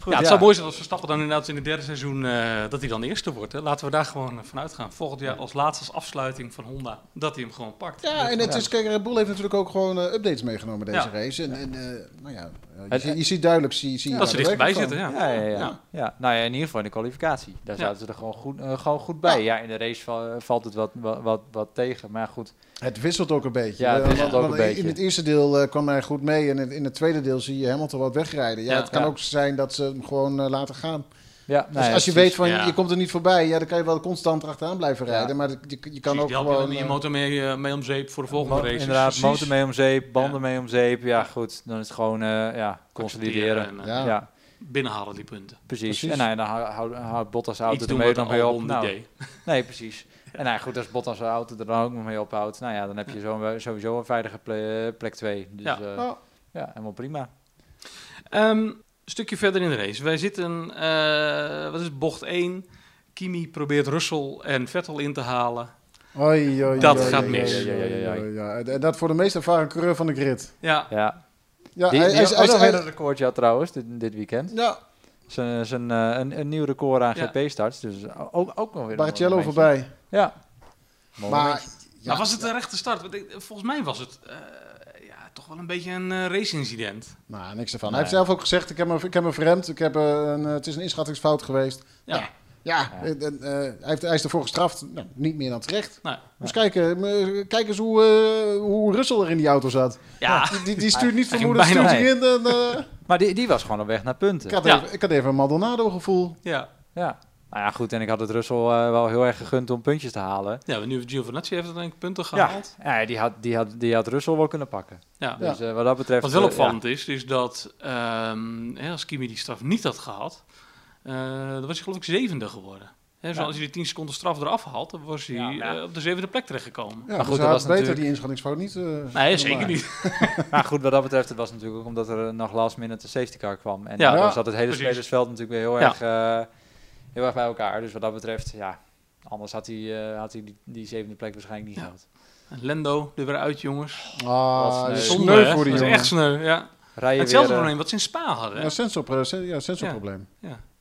Speaker 3: goed.
Speaker 1: ja, het zou mooi zijn als Verstappen dan inderdaad in het derde seizoen eh, dat hij dan eerste wordt. Hè. Laten we daar gewoon eh, van uitgaan. Volgend jaar als laatste als afsluiting van Honda dat hij hem gewoon pakt.
Speaker 2: Ja, en het is, kijk, Red Bull heeft natuurlijk ook gewoon eh, updates meegenomen deze
Speaker 1: Ja.
Speaker 2: race. En, en eh, nou ja, eh, je,
Speaker 3: Het-
Speaker 2: zie- je ziet duidelijk... Zie, zie je
Speaker 1: dat ze
Speaker 2: daar de
Speaker 1: dichterbij
Speaker 2: werking
Speaker 1: zitten, ja.
Speaker 3: Ja, ja, ja.
Speaker 2: Ja.
Speaker 3: ja. nou ja, in ieder geval in de kwalificatie. Daar
Speaker 1: Ja.
Speaker 3: zaten ze er gewoon goed, eh, gewoon goed bij. Ja, in de race va- valt het wat, wat, wat, wat tegen. Maar goed,
Speaker 2: van. Het wisselt ook een beetje.
Speaker 3: Ja, het
Speaker 2: Want-
Speaker 3: wisselt ook
Speaker 2: want
Speaker 3: een beetje.
Speaker 2: In het eerste deel eh, kwam hij goed mee. En in, in het tweede deel zie je Hamilton wat wegrijden. Ja,
Speaker 1: Ja.
Speaker 2: het kan
Speaker 3: Ja.
Speaker 2: ook zijn dat ze hem gewoon eh, laten gaan.
Speaker 3: ja, nou
Speaker 2: dus
Speaker 3: ja,
Speaker 2: als je weet
Speaker 3: precies.
Speaker 2: van,
Speaker 1: Ja.
Speaker 2: je komt er niet voorbij, ja, dan kan je wel constant achteraan blijven
Speaker 3: Ja.
Speaker 2: rijden. Maar je, je kan
Speaker 1: Precies,
Speaker 2: ook
Speaker 1: die helpt je
Speaker 2: gewoon...
Speaker 1: dan in
Speaker 2: eh,
Speaker 1: je motor mee, eh, mee om zeep voor de volgende
Speaker 3: Mo-
Speaker 1: race.
Speaker 3: Inderdaad,
Speaker 2: precies.
Speaker 3: motor mee om zeep, banden mee om zeep. Ja, goed, dan is het gewoon eh, ja, consolideren.
Speaker 1: En, eh,
Speaker 2: Ja.
Speaker 3: Ja,
Speaker 1: Binnenhalen die punten.
Speaker 3: precies.
Speaker 2: Precies.
Speaker 3: En nou, ja, dan hou- hou- houdt Bottas de
Speaker 1: Iets
Speaker 3: auto
Speaker 1: doen
Speaker 3: ermee
Speaker 1: wat
Speaker 3: dan
Speaker 1: een
Speaker 3: mee op.
Speaker 1: album niet
Speaker 3: Nou,
Speaker 1: deed.
Speaker 3: nee, precies. En nou, ja, goed, als Bottas zijn auto er dan ook nog mee ophoudt, nou ja, dan heb je zo, sowieso een veilige ple- plek 2. Dus
Speaker 1: Ja.
Speaker 3: ja.
Speaker 2: oh.
Speaker 3: ja, helemaal prima.
Speaker 1: Ehm, Een stukje verder in de race. Wij zitten, eh, wat is het, bocht 1. Kimi probeert Russell en Vettel in te halen.
Speaker 2: Oei, oei,
Speaker 1: Dat
Speaker 2: oei,
Speaker 1: gaat
Speaker 2: oei,
Speaker 1: mis.
Speaker 2: oei, oei, oei, oei, ja. En dat voor de meest ervaren coureur van de grid.
Speaker 1: Ja,
Speaker 3: Ja.
Speaker 2: Ja,
Speaker 3: die,
Speaker 2: hij,
Speaker 3: die oh,
Speaker 2: hij,
Speaker 3: ook nog
Speaker 2: hij-
Speaker 3: weer een recordje had trouwens, dit, dit weekend.
Speaker 2: ja,
Speaker 3: Zijn, zijn, eh, een, een nieuw record aan
Speaker 1: Ja.
Speaker 3: GP-starts. Dus ook, ook nog weer een
Speaker 2: Barrichello
Speaker 3: mooi momentje.
Speaker 2: voorbij.
Speaker 3: Ja. Mooi
Speaker 2: Maar
Speaker 3: momentje.
Speaker 2: ja,
Speaker 1: maar Nou, was het een rechte start? Want ik- Volgens mij was het eh, ja, toch wel een beetje een eh, race-incident.
Speaker 2: nou, niks ervan. Hij
Speaker 3: Nee.
Speaker 2: heeft zelf ook gezegd, ik heb me, ik heb me verremd. Ik heb eh, een, eh, het is een inschattingsfout geweest.
Speaker 1: Ja.
Speaker 2: Ja. Ja,
Speaker 3: Ja.
Speaker 2: en- en, eh, hij, heeft, hij is ervoor gestraft. Nou, niet meer dan terecht.
Speaker 1: Nou,
Speaker 2: Dus kijken, eh, kijk eens hoe, eh, hoe Russell er in die auto zat.
Speaker 1: ja.
Speaker 2: Die, die, die stuurt niet
Speaker 1: Hij-
Speaker 2: vermoeden,
Speaker 1: hij
Speaker 2: stuurt
Speaker 1: ging
Speaker 2: hij
Speaker 3: bijna
Speaker 2: in. En, eh,
Speaker 3: Maar die, die was gewoon op weg naar punten.
Speaker 2: ik, had
Speaker 1: Ja.
Speaker 2: even, ik had even een Maldonado gevoel.
Speaker 1: ja.
Speaker 3: Ja. Nou ja, goed. En ik had het Russell eh, wel heel erg gegund om puntjes te halen.
Speaker 1: Ja, maar nu heeft Giovinazzi heeft uiteindelijk punten
Speaker 3: Ja,
Speaker 1: gehaald.
Speaker 3: ja die, had, die, had, die had Russell wel kunnen pakken.
Speaker 1: Ja.
Speaker 3: Dus eh, wat dat betreft...
Speaker 1: Wat wel
Speaker 3: eh,
Speaker 1: opvallend is, is dat ehm, hè, als Kimi die straf niet had gehad, eh, dan was hij geloof ik zevende geworden. Hè, dus
Speaker 3: Ja.
Speaker 1: als hij die 10 seconden straf eraf haalt, dan was hij
Speaker 3: Ja, maar ja.
Speaker 1: eh, op de zevende plek terechtgekomen.
Speaker 2: Ja,
Speaker 3: goed,
Speaker 2: dus
Speaker 3: dat
Speaker 2: hij had
Speaker 3: was
Speaker 2: beter
Speaker 3: natuurlijk-
Speaker 2: die inschattingsfout niet. eh,
Speaker 1: Nee,
Speaker 2: kunnen
Speaker 1: zeker
Speaker 2: maken.
Speaker 1: niet.
Speaker 3: ja. Maar Nou, goed, wat dat betreft, het was natuurlijk ook omdat er eh, nog last minute de safety car kwam. En
Speaker 1: Ja.
Speaker 3: dan
Speaker 2: Ja,
Speaker 3: zat het hele
Speaker 1: precies.
Speaker 3: spelersveld natuurlijk weer heel,
Speaker 1: Ja.
Speaker 3: erg, eh, heel erg bij elkaar. Dus wat dat betreft, ja... Anders had hij, eh, had hij die, die zevende plek waarschijnlijk niet
Speaker 1: Ja.
Speaker 3: gehad.
Speaker 1: En Lendo er weer uit, jongens.
Speaker 2: Ah,
Speaker 3: Wat
Speaker 2: dat is
Speaker 3: sneu.
Speaker 2: sneu
Speaker 1: hè?
Speaker 2: voor die
Speaker 1: Dat is
Speaker 2: jongen.
Speaker 1: echt sneu, ja.
Speaker 3: Rij je
Speaker 1: Hetzelfde
Speaker 3: weer, eh,
Speaker 1: probleem wat ze in Spa hadden. hè.
Speaker 2: Ja, sensor, ja, sensorprobleem.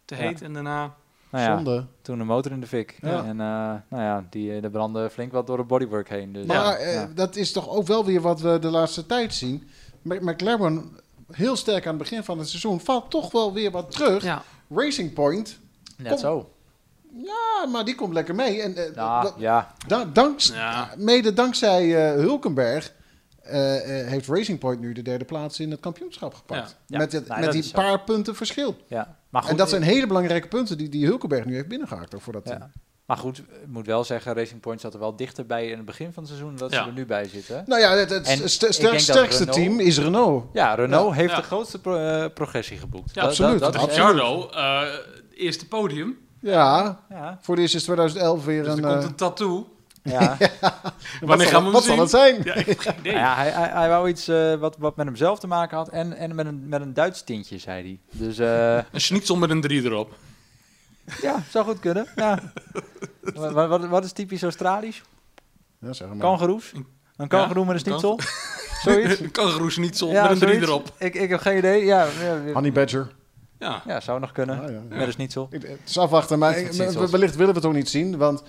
Speaker 1: Te heet en daarna...
Speaker 3: nou ja,
Speaker 2: Zonde.
Speaker 3: toen de motor in de fik.
Speaker 2: Ja.
Speaker 3: En eh, nou ja, die, eh, er brandde flink wat door het bodywork heen. Dus,
Speaker 2: Maar
Speaker 3: ja,
Speaker 2: eh,
Speaker 3: ja.
Speaker 2: dat is toch ook wel weer wat we de laatste tijd zien. Mac- McLaren, heel sterk aan het begin van het seizoen, valt toch wel weer wat terug.
Speaker 1: Ja,
Speaker 2: Racing Point, kom.
Speaker 3: Net zo.
Speaker 2: ah, maar die komt lekker mee. En eh,
Speaker 3: Ja,
Speaker 2: dat-
Speaker 3: ja,
Speaker 2: da- danks,
Speaker 1: Ja.
Speaker 2: mede dankzij eh, Hulkenberg eh, eh, heeft Racing Point nu de derde plaats in het kampioenschap gepakt.
Speaker 1: Ja.
Speaker 3: Ja.
Speaker 2: Met, het-
Speaker 3: Nee,
Speaker 2: met
Speaker 3: dat
Speaker 2: die
Speaker 3: is zo.
Speaker 2: paar punten verschil.
Speaker 3: ja. Maar goed, eh,
Speaker 2: en dat zijn hele belangrijke punten die, die Hulkenberg nu heeft binnengehakt. Ook voor dat
Speaker 3: Ja.
Speaker 2: team.
Speaker 3: Maar goed, ik moet wel zeggen, Racing Point zat er wel dichter bij in het begin van het seizoen dan dat
Speaker 1: Ja.
Speaker 3: ze er nu bij zitten.
Speaker 2: Nou ja, het, het
Speaker 3: En
Speaker 2: ster-
Speaker 3: ik
Speaker 2: ster-
Speaker 3: denk dat
Speaker 2: sterkste
Speaker 3: Renault-
Speaker 2: team is Renault.
Speaker 3: Ja, Renault heeft
Speaker 1: Ja.
Speaker 3: de grootste pro- eh, progressie geboekt.
Speaker 1: Ja,
Speaker 2: absoluut.
Speaker 1: De
Speaker 2: Absoluut.
Speaker 1: Ricciardo, eh, eerste podium.
Speaker 2: Ja,
Speaker 3: ja,
Speaker 2: voor de eerste is 2011 weer
Speaker 1: Dus er
Speaker 2: een...
Speaker 1: komt
Speaker 2: eh,
Speaker 1: een tattoo.
Speaker 3: ja.
Speaker 2: wat
Speaker 1: Wanneer
Speaker 2: zal,
Speaker 1: gaan we
Speaker 2: het-
Speaker 1: hem zien?
Speaker 2: wat zal het zijn?
Speaker 1: Ja, ik heb geen idee.
Speaker 3: Nou ja, hij, hij, hij wou iets eh, wat, wat met hemzelf te maken had en, en met, een, met een Duits tintje, zei hij. Dus eh,
Speaker 1: Een schnitzel met een 3 erop.
Speaker 3: ja, zou goed kunnen. Ja. Wa- wa- wat, wat is typisch Australisch?
Speaker 2: Ja, zeg maar.
Speaker 3: Kangeroes? Een kangeroe met een
Speaker 1: een
Speaker 3: schnitzel? Zoiets?
Speaker 1: Een kangaroo schnitzel
Speaker 3: Ja,
Speaker 1: met een 3
Speaker 3: zoiets.
Speaker 1: erop.
Speaker 3: Ik, ik heb geen idee. Ja, ja,
Speaker 2: Honey Badger.
Speaker 1: Ja.
Speaker 3: ja, zou nog kunnen.
Speaker 2: Ah, ja.
Speaker 3: Met een schnitzel.
Speaker 2: Ik- Het is afwachten, maar ik-
Speaker 3: precies zoals-
Speaker 2: wellicht willen we het ook niet zien, want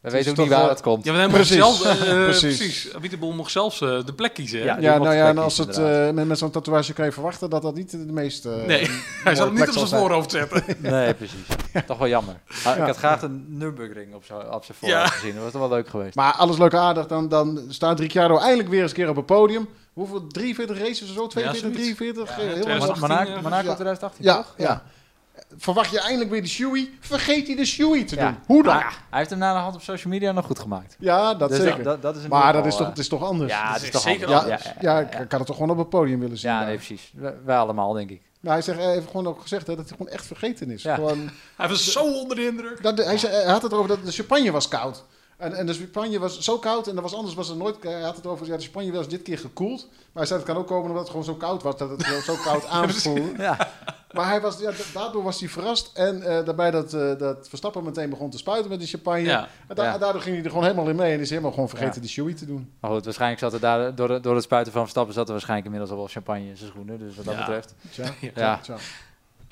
Speaker 3: We
Speaker 2: is
Speaker 3: weten ook
Speaker 2: toch
Speaker 3: niet waar
Speaker 2: wel-
Speaker 3: het komt.
Speaker 1: Ja, maar hij
Speaker 2: Precies.
Speaker 1: mocht zelf, eh,
Speaker 2: Precies.
Speaker 1: precies. Wieteboel mocht zelfs eh, de plek kiezen. hè?
Speaker 3: Ja, die
Speaker 2: ja,
Speaker 3: wordt
Speaker 2: nou ja, en
Speaker 3: geplekt,
Speaker 2: als het
Speaker 3: inderdaad.
Speaker 2: eh, met, met zo'n tatoeage kan je verwachten dat dat niet de meest... eh,
Speaker 1: nee, hij zal het niet
Speaker 2: plek
Speaker 1: op
Speaker 2: zal
Speaker 1: zijn
Speaker 2: zijn.
Speaker 1: voorhoofd zetten.
Speaker 3: Nee, precies. Toch wel jammer. Ah, Ik had graag een Nürburgring op zijn op zijn voorhoofd
Speaker 1: Ja.
Speaker 3: gezien. Dat was toch wel leuk geweest.
Speaker 2: Maar alles leuk en aardig, dan, dan staat Ricciardo eindelijk weer eens een keer op het podium. Hoeveel? 43 races of zo? 42,
Speaker 1: zoiets.
Speaker 2: 43? Ja, heel
Speaker 1: 2018
Speaker 2: lang.
Speaker 3: Monaco
Speaker 1: ergens,
Speaker 3: Monaco
Speaker 2: ja.
Speaker 3: 2018,
Speaker 2: Ja,
Speaker 3: toch?
Speaker 2: ja. Verwacht je eindelijk weer de shoey? Vergeet hij de shoey te
Speaker 3: Ja.
Speaker 2: doen. Hoe dan?
Speaker 3: Maar hij heeft hem na de hand op social media nog goed gemaakt.
Speaker 2: Ja, dat
Speaker 3: Dus
Speaker 2: zeker.
Speaker 3: Dat, dat is in
Speaker 2: maar
Speaker 3: ieder
Speaker 2: dat is, toch,
Speaker 3: geval,
Speaker 2: het is toch anders?
Speaker 3: eh, Ja,
Speaker 1: Dat
Speaker 3: dat
Speaker 1: is
Speaker 3: is toch
Speaker 1: zeker
Speaker 3: anders.
Speaker 2: ja,
Speaker 3: Ja,
Speaker 2: ja,
Speaker 3: ja, ja.
Speaker 2: ik kan het toch gewoon op het podium willen zien.
Speaker 3: Ja,
Speaker 2: daar.
Speaker 3: nee, precies. We- Wij allemaal, denk ik.
Speaker 2: Nou, hij, zegt, hij heeft gewoon ook gezegd hè, dat hij gewoon echt vergeten is.
Speaker 3: Ja.
Speaker 2: Gewoon,
Speaker 1: Hij was zo onder de indruk.
Speaker 2: dat, hij, zei- hij had het erover dat de champagne was koud. En, en de champagne was zo koud en dat was anders was er nooit. eh, Hij had het over, ja, de champagne was dit keer gekoeld. Maar hij zei, het kan ook komen omdat het gewoon zo koud was, dat het zo- zo koud aanvoelde.
Speaker 3: Ja,
Speaker 2: Maar hij was, ja, da- daardoor was hij verrast. En eh, daarbij dat, eh, dat Verstappen meteen begon te spuiten met die champagne.
Speaker 1: Ja.
Speaker 2: En da-
Speaker 3: Ja.
Speaker 2: daardoor ging hij er gewoon helemaal in mee. En is helemaal gewoon vergeten
Speaker 3: Ja.
Speaker 2: die shoey te doen.
Speaker 3: maar goed, waarschijnlijk zat er daar, door, de- door het spuiten van Verstappen, zat er waarschijnlijk inmiddels al wel champagne in zijn schoenen. Dus wat dat
Speaker 1: Ja.
Speaker 3: betreft,
Speaker 2: Tja,
Speaker 1: Ja.
Speaker 2: tja,
Speaker 3: Ja.
Speaker 2: tja.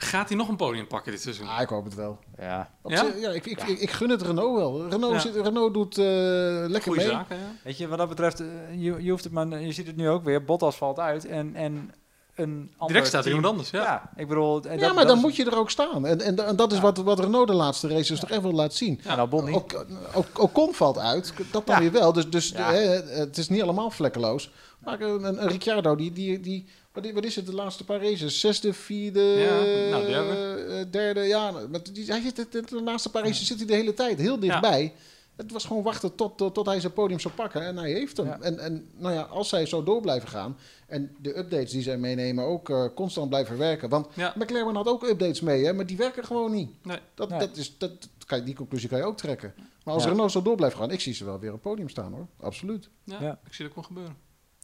Speaker 1: Gaat hij nog een podium pakken dit seizoen?
Speaker 2: Ah, ik hoop het wel.
Speaker 3: ja.
Speaker 2: Op
Speaker 1: Ja?
Speaker 2: zich- ja, ik, ik, Ik, ik gun het Renault wel. Renault,
Speaker 1: Ja.
Speaker 2: zit- Renault doet eh, lekker
Speaker 1: Goeie
Speaker 2: mee.
Speaker 1: zaken, ja.
Speaker 3: Weet je, wat dat betreft, eh, je, je hoeft het maar, je ziet het nu ook weer, Bottas valt uit en, en een ander
Speaker 1: Direct staat er
Speaker 3: team-
Speaker 1: iemand anders, ja.
Speaker 3: ik bedoel... en
Speaker 2: Ja,
Speaker 3: dat-
Speaker 2: maar
Speaker 3: dat
Speaker 2: dan
Speaker 3: is-
Speaker 2: moet je er ook staan. En, en, en dat is
Speaker 3: Ja.
Speaker 2: wat, wat Renault de laatste races toch echt wel laat zien.
Speaker 1: Ja.
Speaker 3: En Albon niet.
Speaker 2: Ook, ook, ook Con valt uit, dat dan
Speaker 3: Ja.
Speaker 2: weer wel. Dus, dus
Speaker 3: Ja.
Speaker 2: hè, het is niet allemaal vlekkeloos. Maar eh, een, een, een Ricciardo, die, die, die, wat, wat is het, de laatste paar races? Zesde, vierde,
Speaker 1: Ja, nou, derde.
Speaker 2: eh, derde, ja. Maar die, hij zit, de, de- de laatste paar races zit hij de hele tijd heel dichtbij. Het was gewoon wachten tot, tot, tot hij zijn podium zou pakken en hij heeft hem.
Speaker 3: Ja.
Speaker 2: En, en nou ja, als zij zo door blijven gaan en de updates die zij meenemen ook eh, constant blijven werken. Want
Speaker 1: Ja.
Speaker 2: McLaren had ook updates mee, hè, maar die werken gewoon niet.
Speaker 1: Nee.
Speaker 2: Dat,
Speaker 3: Nee.
Speaker 2: dat is, dat, kijk, die conclusie kan je ook trekken. Maar als
Speaker 3: Ja.
Speaker 2: Renault zo door blijft gaan, ik zie ze wel weer op het podium staan hoor. Absoluut.
Speaker 1: Ja,
Speaker 3: Ja.
Speaker 1: Ik zie dat wel gebeuren.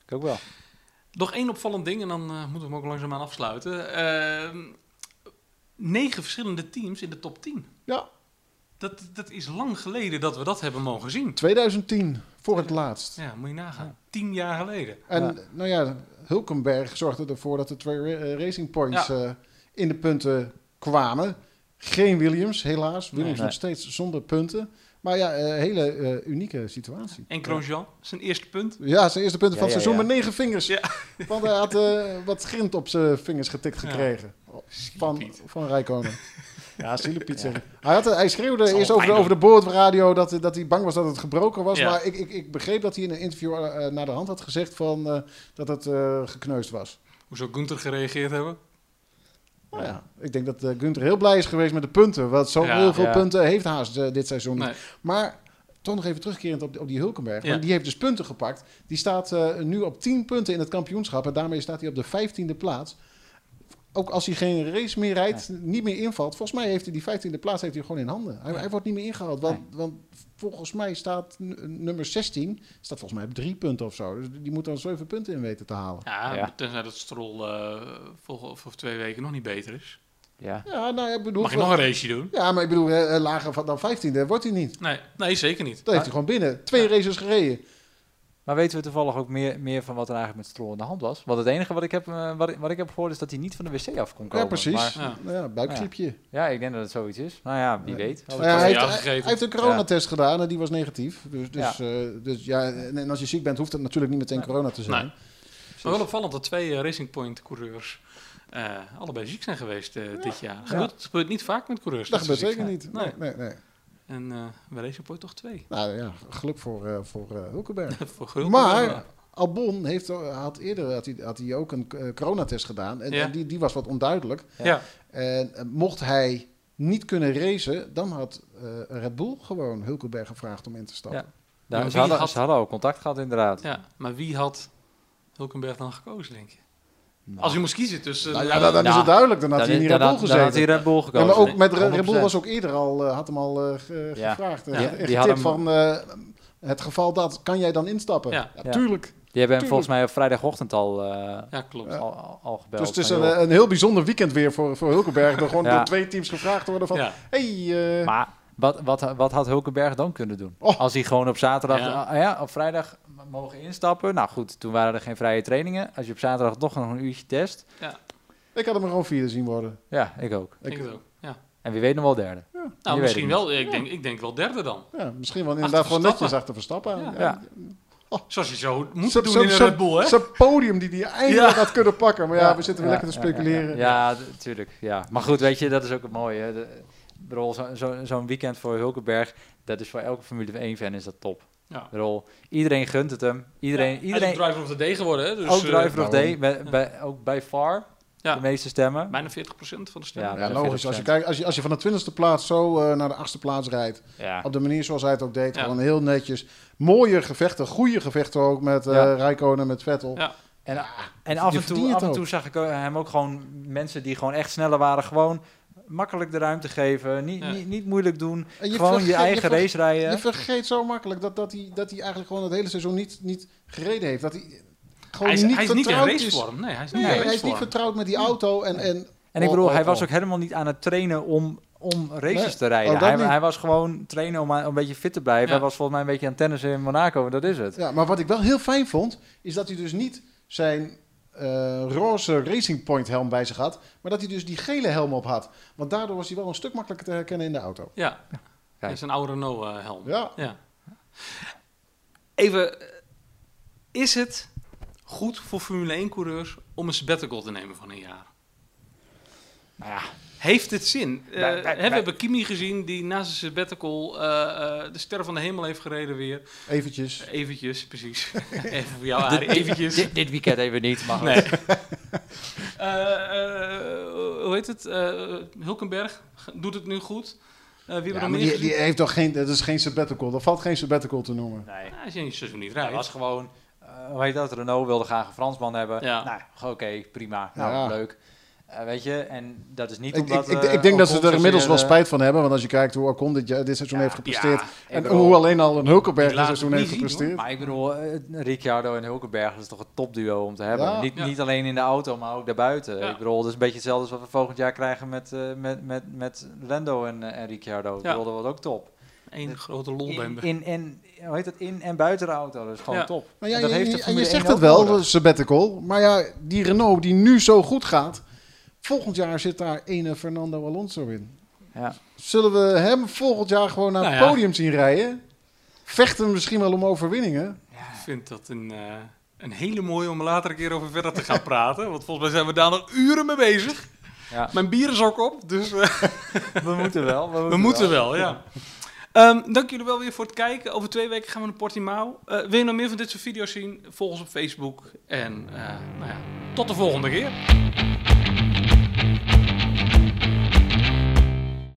Speaker 3: Ik ook wel.
Speaker 1: Nog één opvallend ding, en dan eh, moeten we hem ook langzaamaan afsluiten. Ehm, negen verschillende teams in de top 10.
Speaker 2: Ja,
Speaker 1: Dat, dat is lang geleden dat we dat hebben mogen zien.
Speaker 2: 2010 voor het laatst.
Speaker 1: Ja, moet je nagaan. Tien jaar geleden.
Speaker 2: En
Speaker 3: Ja.
Speaker 2: nou ja, Hulkenberg zorgde ervoor dat de twee ra- eh, Racing Points eh, in de punten kwamen. Geen Williams, helaas. Williams
Speaker 3: Nee.
Speaker 2: nog steeds zonder punten. Maar ja, eh, hele eh, unieke situatie.
Speaker 1: En Grosjean, zijn eerste punt.
Speaker 2: Ja, zijn eerste punten
Speaker 3: Ja,
Speaker 2: van het
Speaker 3: ja,
Speaker 2: seizoen
Speaker 3: ja.
Speaker 2: met negen vingers.
Speaker 1: Ja.
Speaker 2: Want hij had eh, wat grind op zijn vingers getikt
Speaker 1: Ja.
Speaker 2: gekregen. Van,
Speaker 1: Piet.
Speaker 2: van Rijkonen. Ja, zielepiet zeg ik. Hij, had, eh, hij schreeuwde
Speaker 1: Zal
Speaker 2: eerst
Speaker 1: wel
Speaker 2: over de,
Speaker 1: pijn
Speaker 2: over de boordradio dat, eh, dat hij bang was dat het gebroken was.
Speaker 1: Ja.
Speaker 2: Maar ik, ik, ik begreep dat hij in een interview eh, eh, naar de hand had gezegd van, eh, dat het eh, gekneusd was.
Speaker 1: Hoe zou Gunther gereageerd hebben?
Speaker 2: Nou ja, ik denk dat eh, Gunther heel blij is geweest met de punten. Want zo
Speaker 1: Oh Ja.
Speaker 2: heel veel
Speaker 3: Ja.
Speaker 2: punten heeft Haas eh, dit seizoen
Speaker 1: Nee.
Speaker 2: maar toch nog even terugkerend op, die- op die Hulkenberg.
Speaker 1: Ja.
Speaker 2: Want die heeft dus punten gepakt. Die staat eh, nu op 10 punten in het kampioenschap. En daarmee staat hij op de 15e plaats. Ook als hij geen race meer rijdt, niet meer invalt. Volgens mij heeft hij die 15e plaats heeft hij gewoon in handen. Hij,
Speaker 1: Ja.
Speaker 2: hij wordt niet meer ingehaald. Want, want volgens mij staat n- nummer 16, staat volgens mij op drie punten of zo. Dus die moet dan 7 punten in weten te halen.
Speaker 1: Ja,
Speaker 3: Ja.
Speaker 1: tenzij dat Strol eh volgende of over twee weken nog niet beter is.
Speaker 3: Ja.
Speaker 2: Ja, nou, ja, ik bedoel,
Speaker 1: Mag je nog een raceje doen?
Speaker 2: ja maar ik bedoel, eh, eh, lager van- dan 15e wordt hij niet.
Speaker 1: Nee, nee zeker niet.
Speaker 2: Dat heeft hij gewoon binnen. Twee races gereden.
Speaker 3: Maar weten we toevallig ook meer, meer van wat er eigenlijk met Stroll in de hand was? Want het enige wat ik heb, eh, wat ik, wat ik heb gehoord is dat hij niet van de wc af kon komen.
Speaker 2: Ja, precies.
Speaker 3: Maar,
Speaker 1: Ja.
Speaker 2: Nou ja, buikgriepje.
Speaker 3: ja, ik denk dat het zoiets is. Nou ja,
Speaker 2: Ja.
Speaker 3: wie weet.
Speaker 2: Nou
Speaker 1: was
Speaker 2: ja, hij,
Speaker 1: een
Speaker 2: heeft,
Speaker 1: jaar
Speaker 2: hij-
Speaker 1: gegeten.
Speaker 2: hij heeft een coronatest gedaan en die was negatief. Dus, dus,
Speaker 3: Ja.
Speaker 2: eh, dus ja, en, en als je ziek bent, hoeft het natuurlijk niet meteen
Speaker 3: Nee.
Speaker 2: corona te zijn.
Speaker 1: Nee. Maar wel opvallend dat twee eh, Racing Point coureurs eh, allebei ziek zijn geweest eh, dit jaar. Dat gebeurt, gebeurt niet vaak met coureurs.
Speaker 2: Dus Dat
Speaker 1: ze
Speaker 2: gebeurt
Speaker 1: ziek
Speaker 2: zeker niet. Nee,
Speaker 1: Nee.
Speaker 2: nee, nee.
Speaker 1: zijn. En eh bij Racing Point toch twee.
Speaker 2: Nou ja, geluk voor, eh voor eh, Hulkenberg.
Speaker 1: Voor Gulp.
Speaker 2: maar Albon heeft, had eerder had hij, had hij ook een eh, coronatest gedaan. En,
Speaker 1: Ja.
Speaker 2: en die, die was wat onduidelijk.
Speaker 1: Ja.
Speaker 2: En eh, mocht hij niet kunnen racen, dan had eh, Red Bull gewoon Hulkenberg gevraagd om in te stappen.
Speaker 3: Ja. Daar,
Speaker 1: maar
Speaker 3: ze,
Speaker 1: wie
Speaker 3: hadden,
Speaker 1: had-
Speaker 3: ze hadden ook contact gehad, inderdaad.
Speaker 1: Ja, maar wie had Hulkenberg dan gekozen, denk je?
Speaker 3: Nou,
Speaker 1: Als je moest kiezen tussen...
Speaker 2: Nou
Speaker 1: eh,
Speaker 2: ja, dan, dan is
Speaker 3: Ja.
Speaker 2: het duidelijk. Dan had
Speaker 3: dan
Speaker 2: hij in die
Speaker 3: dan
Speaker 2: Red Bull
Speaker 3: dan had hij
Speaker 2: gezeten.
Speaker 3: Red Bull
Speaker 2: Ja,
Speaker 3: gekozen.
Speaker 2: maar ook met Re- Red
Speaker 3: 100%.
Speaker 2: Bull was ook eerder al, eh, had hem al eh, ge-
Speaker 3: Ja.
Speaker 2: gevraagd. eh,
Speaker 1: Ja,
Speaker 2: echt
Speaker 3: die had
Speaker 2: tip
Speaker 3: hem-
Speaker 2: van eh, het geval dat, kan jij dan instappen?
Speaker 1: Ja.
Speaker 3: Ja.
Speaker 2: tuurlijk.
Speaker 3: Die hebben hem
Speaker 2: Tuurlijk.
Speaker 3: volgens mij op vrijdagochtend al, eh,
Speaker 1: ja, klopt.
Speaker 3: al, al- al gebeld.
Speaker 2: Dus het is
Speaker 3: van,
Speaker 2: een,
Speaker 3: joh.
Speaker 2: eh, een heel bijzonder weekend weer voor, voor Hulkenberg. Er gewoon
Speaker 3: Ja.
Speaker 2: door twee teams gevraagd worden van,
Speaker 1: Ja.
Speaker 2: hey, eh,
Speaker 3: Maar wat, wat, wat had Hulkenberg dan kunnen doen?
Speaker 2: Oh.
Speaker 3: Als hij gewoon op zaterdag,
Speaker 1: Ja.
Speaker 3: ah, ja, op vrijdag m- mogen instappen. Nou goed, toen waren er geen vrije trainingen. Als je op zaterdag toch nog een uurtje test.
Speaker 2: ik had hem gewoon vierde zien worden.
Speaker 3: Ja, ik ook.
Speaker 1: Ik denk het ook. Ja.
Speaker 3: En wie weet nog wel derde. weet
Speaker 1: Nou,
Speaker 3: het
Speaker 1: misschien
Speaker 3: niet.
Speaker 1: wel. Ik,
Speaker 2: Ja.
Speaker 1: denk, ik denk wel derde dan.
Speaker 2: Ja, misschien wel inderdaad gewoon
Speaker 1: Verstappen.
Speaker 2: netjes achter Verstappen.
Speaker 1: Ja.
Speaker 3: Ja.
Speaker 1: Zoals je zo moet
Speaker 2: Zo-
Speaker 1: doen
Speaker 2: zo-
Speaker 1: in een
Speaker 2: zo-
Speaker 1: Red Bull, hè?
Speaker 2: Zijn podium die hij eindelijk had kunnen pakken. Maar ja, we zitten weer
Speaker 3: ja,
Speaker 2: lekker te
Speaker 3: ja, ja,
Speaker 2: speculeren.
Speaker 3: Ja, ja, d- tuurlijk. Ja. Maar goed, weet je, dat is ook het mooie. hè. De- ik bedoel, zo- zo- zo'n weekend voor Hulkenberg, dat is voor elke Formule 1 fan is dat top.
Speaker 1: Ja.
Speaker 3: Ik bedoel, iedereen gunt het hem. Iedereen,
Speaker 1: Ja, Hij
Speaker 3: iedereen
Speaker 1: is ook driver of the day geworden, hè? Dus,
Speaker 3: ook
Speaker 1: eh,
Speaker 3: driver
Speaker 2: daarom.
Speaker 3: of day, bij, bij- ook bij far
Speaker 1: Ja.
Speaker 3: de meeste stemmen.
Speaker 1: eh, bijna 40% van de stemmen.
Speaker 3: Ja,
Speaker 2: Ja,
Speaker 3: dat vind
Speaker 2: logisch.
Speaker 3: ik
Speaker 2: Als je,
Speaker 3: vet.
Speaker 2: kijkt, als, je, als je van de twintigste plaats zo eh, naar de achtste plaats rijdt.
Speaker 3: Ja.
Speaker 2: Op de manier zoals hij het ook deed.
Speaker 1: Ja.
Speaker 2: Gewoon heel netjes. Mooie gevechten. Goede gevechten ook met eh
Speaker 3: Ja.
Speaker 2: Rijkonen, met Vettel.
Speaker 1: Ja.
Speaker 3: En, en af, en
Speaker 2: verdient
Speaker 3: toe,
Speaker 2: het
Speaker 3: af en
Speaker 2: ook.
Speaker 3: toe zag ik eh, hem ook gewoon mensen die gewoon echt sneller waren, gewoon makkelijk de ruimte geven, niet,
Speaker 1: Ja.
Speaker 3: niet, niet moeilijk doen,
Speaker 2: En
Speaker 3: gewoon
Speaker 2: vergeet-
Speaker 3: je eigen
Speaker 2: vergeet-
Speaker 3: race rijden.
Speaker 2: Je vergeet zo makkelijk dat, dat, hij, dat hij eigenlijk gewoon het hele seizoen niet, niet gereden heeft. Dat hij gewoon
Speaker 1: Hij is,
Speaker 2: niet
Speaker 1: hij is niet in
Speaker 2: vertrouwd is.
Speaker 1: racevorm. Nee, hij is niet in
Speaker 2: Nee, hij is niet
Speaker 1: racevorm.
Speaker 2: vertrouwd met die auto. En, en,
Speaker 3: en ik bedoel,
Speaker 2: oh, oh,
Speaker 3: hij was
Speaker 2: oh.
Speaker 3: ook helemaal niet aan het trainen om, om races
Speaker 2: Nee,
Speaker 3: te rijden.
Speaker 2: oh, dat
Speaker 3: hij,
Speaker 2: niet.
Speaker 3: hij was gewoon trainen om, aan- om een beetje fit te blijven.
Speaker 1: Ja.
Speaker 3: Hij was volgens mij een beetje aan het tennissen in Monaco, dat is het.
Speaker 2: Ja, maar wat ik wel heel fijn vond, is dat hij dus niet zijn eh, roze Racing Point helm bij zich had, maar dat hij dus die gele helm op had. Want daardoor was hij wel een stuk makkelijker te herkennen in de auto.
Speaker 1: Ja, hij is een oude Renault-helm.
Speaker 2: Ja,
Speaker 1: Ja. Even, eh, is het goed voor Formule 1-coureurs om een sabbatical te nemen van een jaar?
Speaker 3: Nou ja,
Speaker 1: Heeft het zin? Eh,
Speaker 3: Wij- wij-
Speaker 1: hè,
Speaker 3: wij-
Speaker 1: we hebben Kimi gezien die na zijn sabbatical eh, eh, de sterren van de hemel heeft gereden weer.
Speaker 2: eventjes.
Speaker 1: Eventjes, precies. Even voor jou, Arie, eventjes.
Speaker 3: Dit, dit weekend even niet, maar
Speaker 1: Nee. Eh, eh, hoe heet het? Eh, Hulkenberg doet het nu goed. Eh, wie hebben we nog
Speaker 2: Ja, maar
Speaker 1: meer
Speaker 2: die,
Speaker 1: gezien?
Speaker 2: die heeft toch geen, dat is geen sabbatical, dat valt geen sabbatical te noemen.
Speaker 3: nee.
Speaker 1: Ja, als je in je seizoen niet
Speaker 3: Hij
Speaker 1: rijdt.
Speaker 3: was gewoon, eh, hoe heet dat, Renault wilde graag een Fransman hebben.
Speaker 1: Ja.
Speaker 3: Nou, oké, prima. Nou,
Speaker 2: Ja.
Speaker 3: leuk. Eh, weet je, en dat is niet
Speaker 2: Ik, ik,
Speaker 3: omdat...
Speaker 2: ik,
Speaker 3: eh,
Speaker 2: ik denk dat ze
Speaker 3: Ocon
Speaker 2: er inmiddels
Speaker 3: zozeer,
Speaker 2: wel
Speaker 3: eh,
Speaker 2: spijt van hebben, want als je kijkt hoe Ocon dit, jaar- dit seizoen
Speaker 3: Ja,
Speaker 2: heeft gepresteerd
Speaker 1: Ja,
Speaker 3: ik
Speaker 2: en
Speaker 3: bedoel,
Speaker 2: hoe alleen al een Hulkenberg
Speaker 1: Die
Speaker 2: dit
Speaker 1: laat
Speaker 2: seizoen
Speaker 1: het niet
Speaker 2: heeft
Speaker 1: zien,
Speaker 2: gepresteerd.
Speaker 3: Maar ik bedoel, eh, Ricciardo en Hulkenberg dat is toch een topduo om te hebben.
Speaker 2: Ja.
Speaker 3: Niet,
Speaker 1: Ja.
Speaker 3: niet alleen in de auto, maar ook daarbuiten.
Speaker 1: Ja.
Speaker 3: Ik bedoel, dat is een beetje hetzelfde als wat we volgend jaar krijgen met, eh, met, met, met Lando en, eh, en Ricciardo. Ik
Speaker 1: Ja.
Speaker 3: bedoel, dat wordt ook top.
Speaker 1: Eén grote
Speaker 3: In,
Speaker 1: lolbende.
Speaker 3: in, in, hoe heet dat, in en buiten de auto, dat is gewoon
Speaker 1: Ja.
Speaker 3: top.
Speaker 2: Maar ja,
Speaker 3: En dat
Speaker 2: je,
Speaker 3: heeft
Speaker 2: je-
Speaker 3: de
Speaker 2: en
Speaker 3: Formule
Speaker 2: je
Speaker 3: 1
Speaker 2: zegt
Speaker 3: ook
Speaker 2: het wel,
Speaker 3: nodig.
Speaker 2: sabbatical. Maar ja, die Renault die nu zo goed gaat. Volgend jaar zit daar ene Fernando Alonso in.
Speaker 3: Ja.
Speaker 2: Zullen we hem volgend jaar gewoon naar
Speaker 1: Nou
Speaker 2: het
Speaker 1: ja.
Speaker 2: podium zien rijden? Vechten misschien wel om overwinningen.
Speaker 1: Ik vind dat een, eh, een hele mooie om later een keer over verder te gaan praten. Want volgens mij zijn we daar nog uren mee bezig.
Speaker 3: Ja.
Speaker 1: Mijn bier is ook op, dus eh,
Speaker 3: We moeten wel. We,
Speaker 1: we moeten wel, ja. Ehm, dank jullie wel weer voor het kijken. Over twee weken gaan we naar Portimao. Eh, wil je nog meer van dit soort video's zien? Volg ons op Facebook. En eh, nou ja, tot de volgende keer.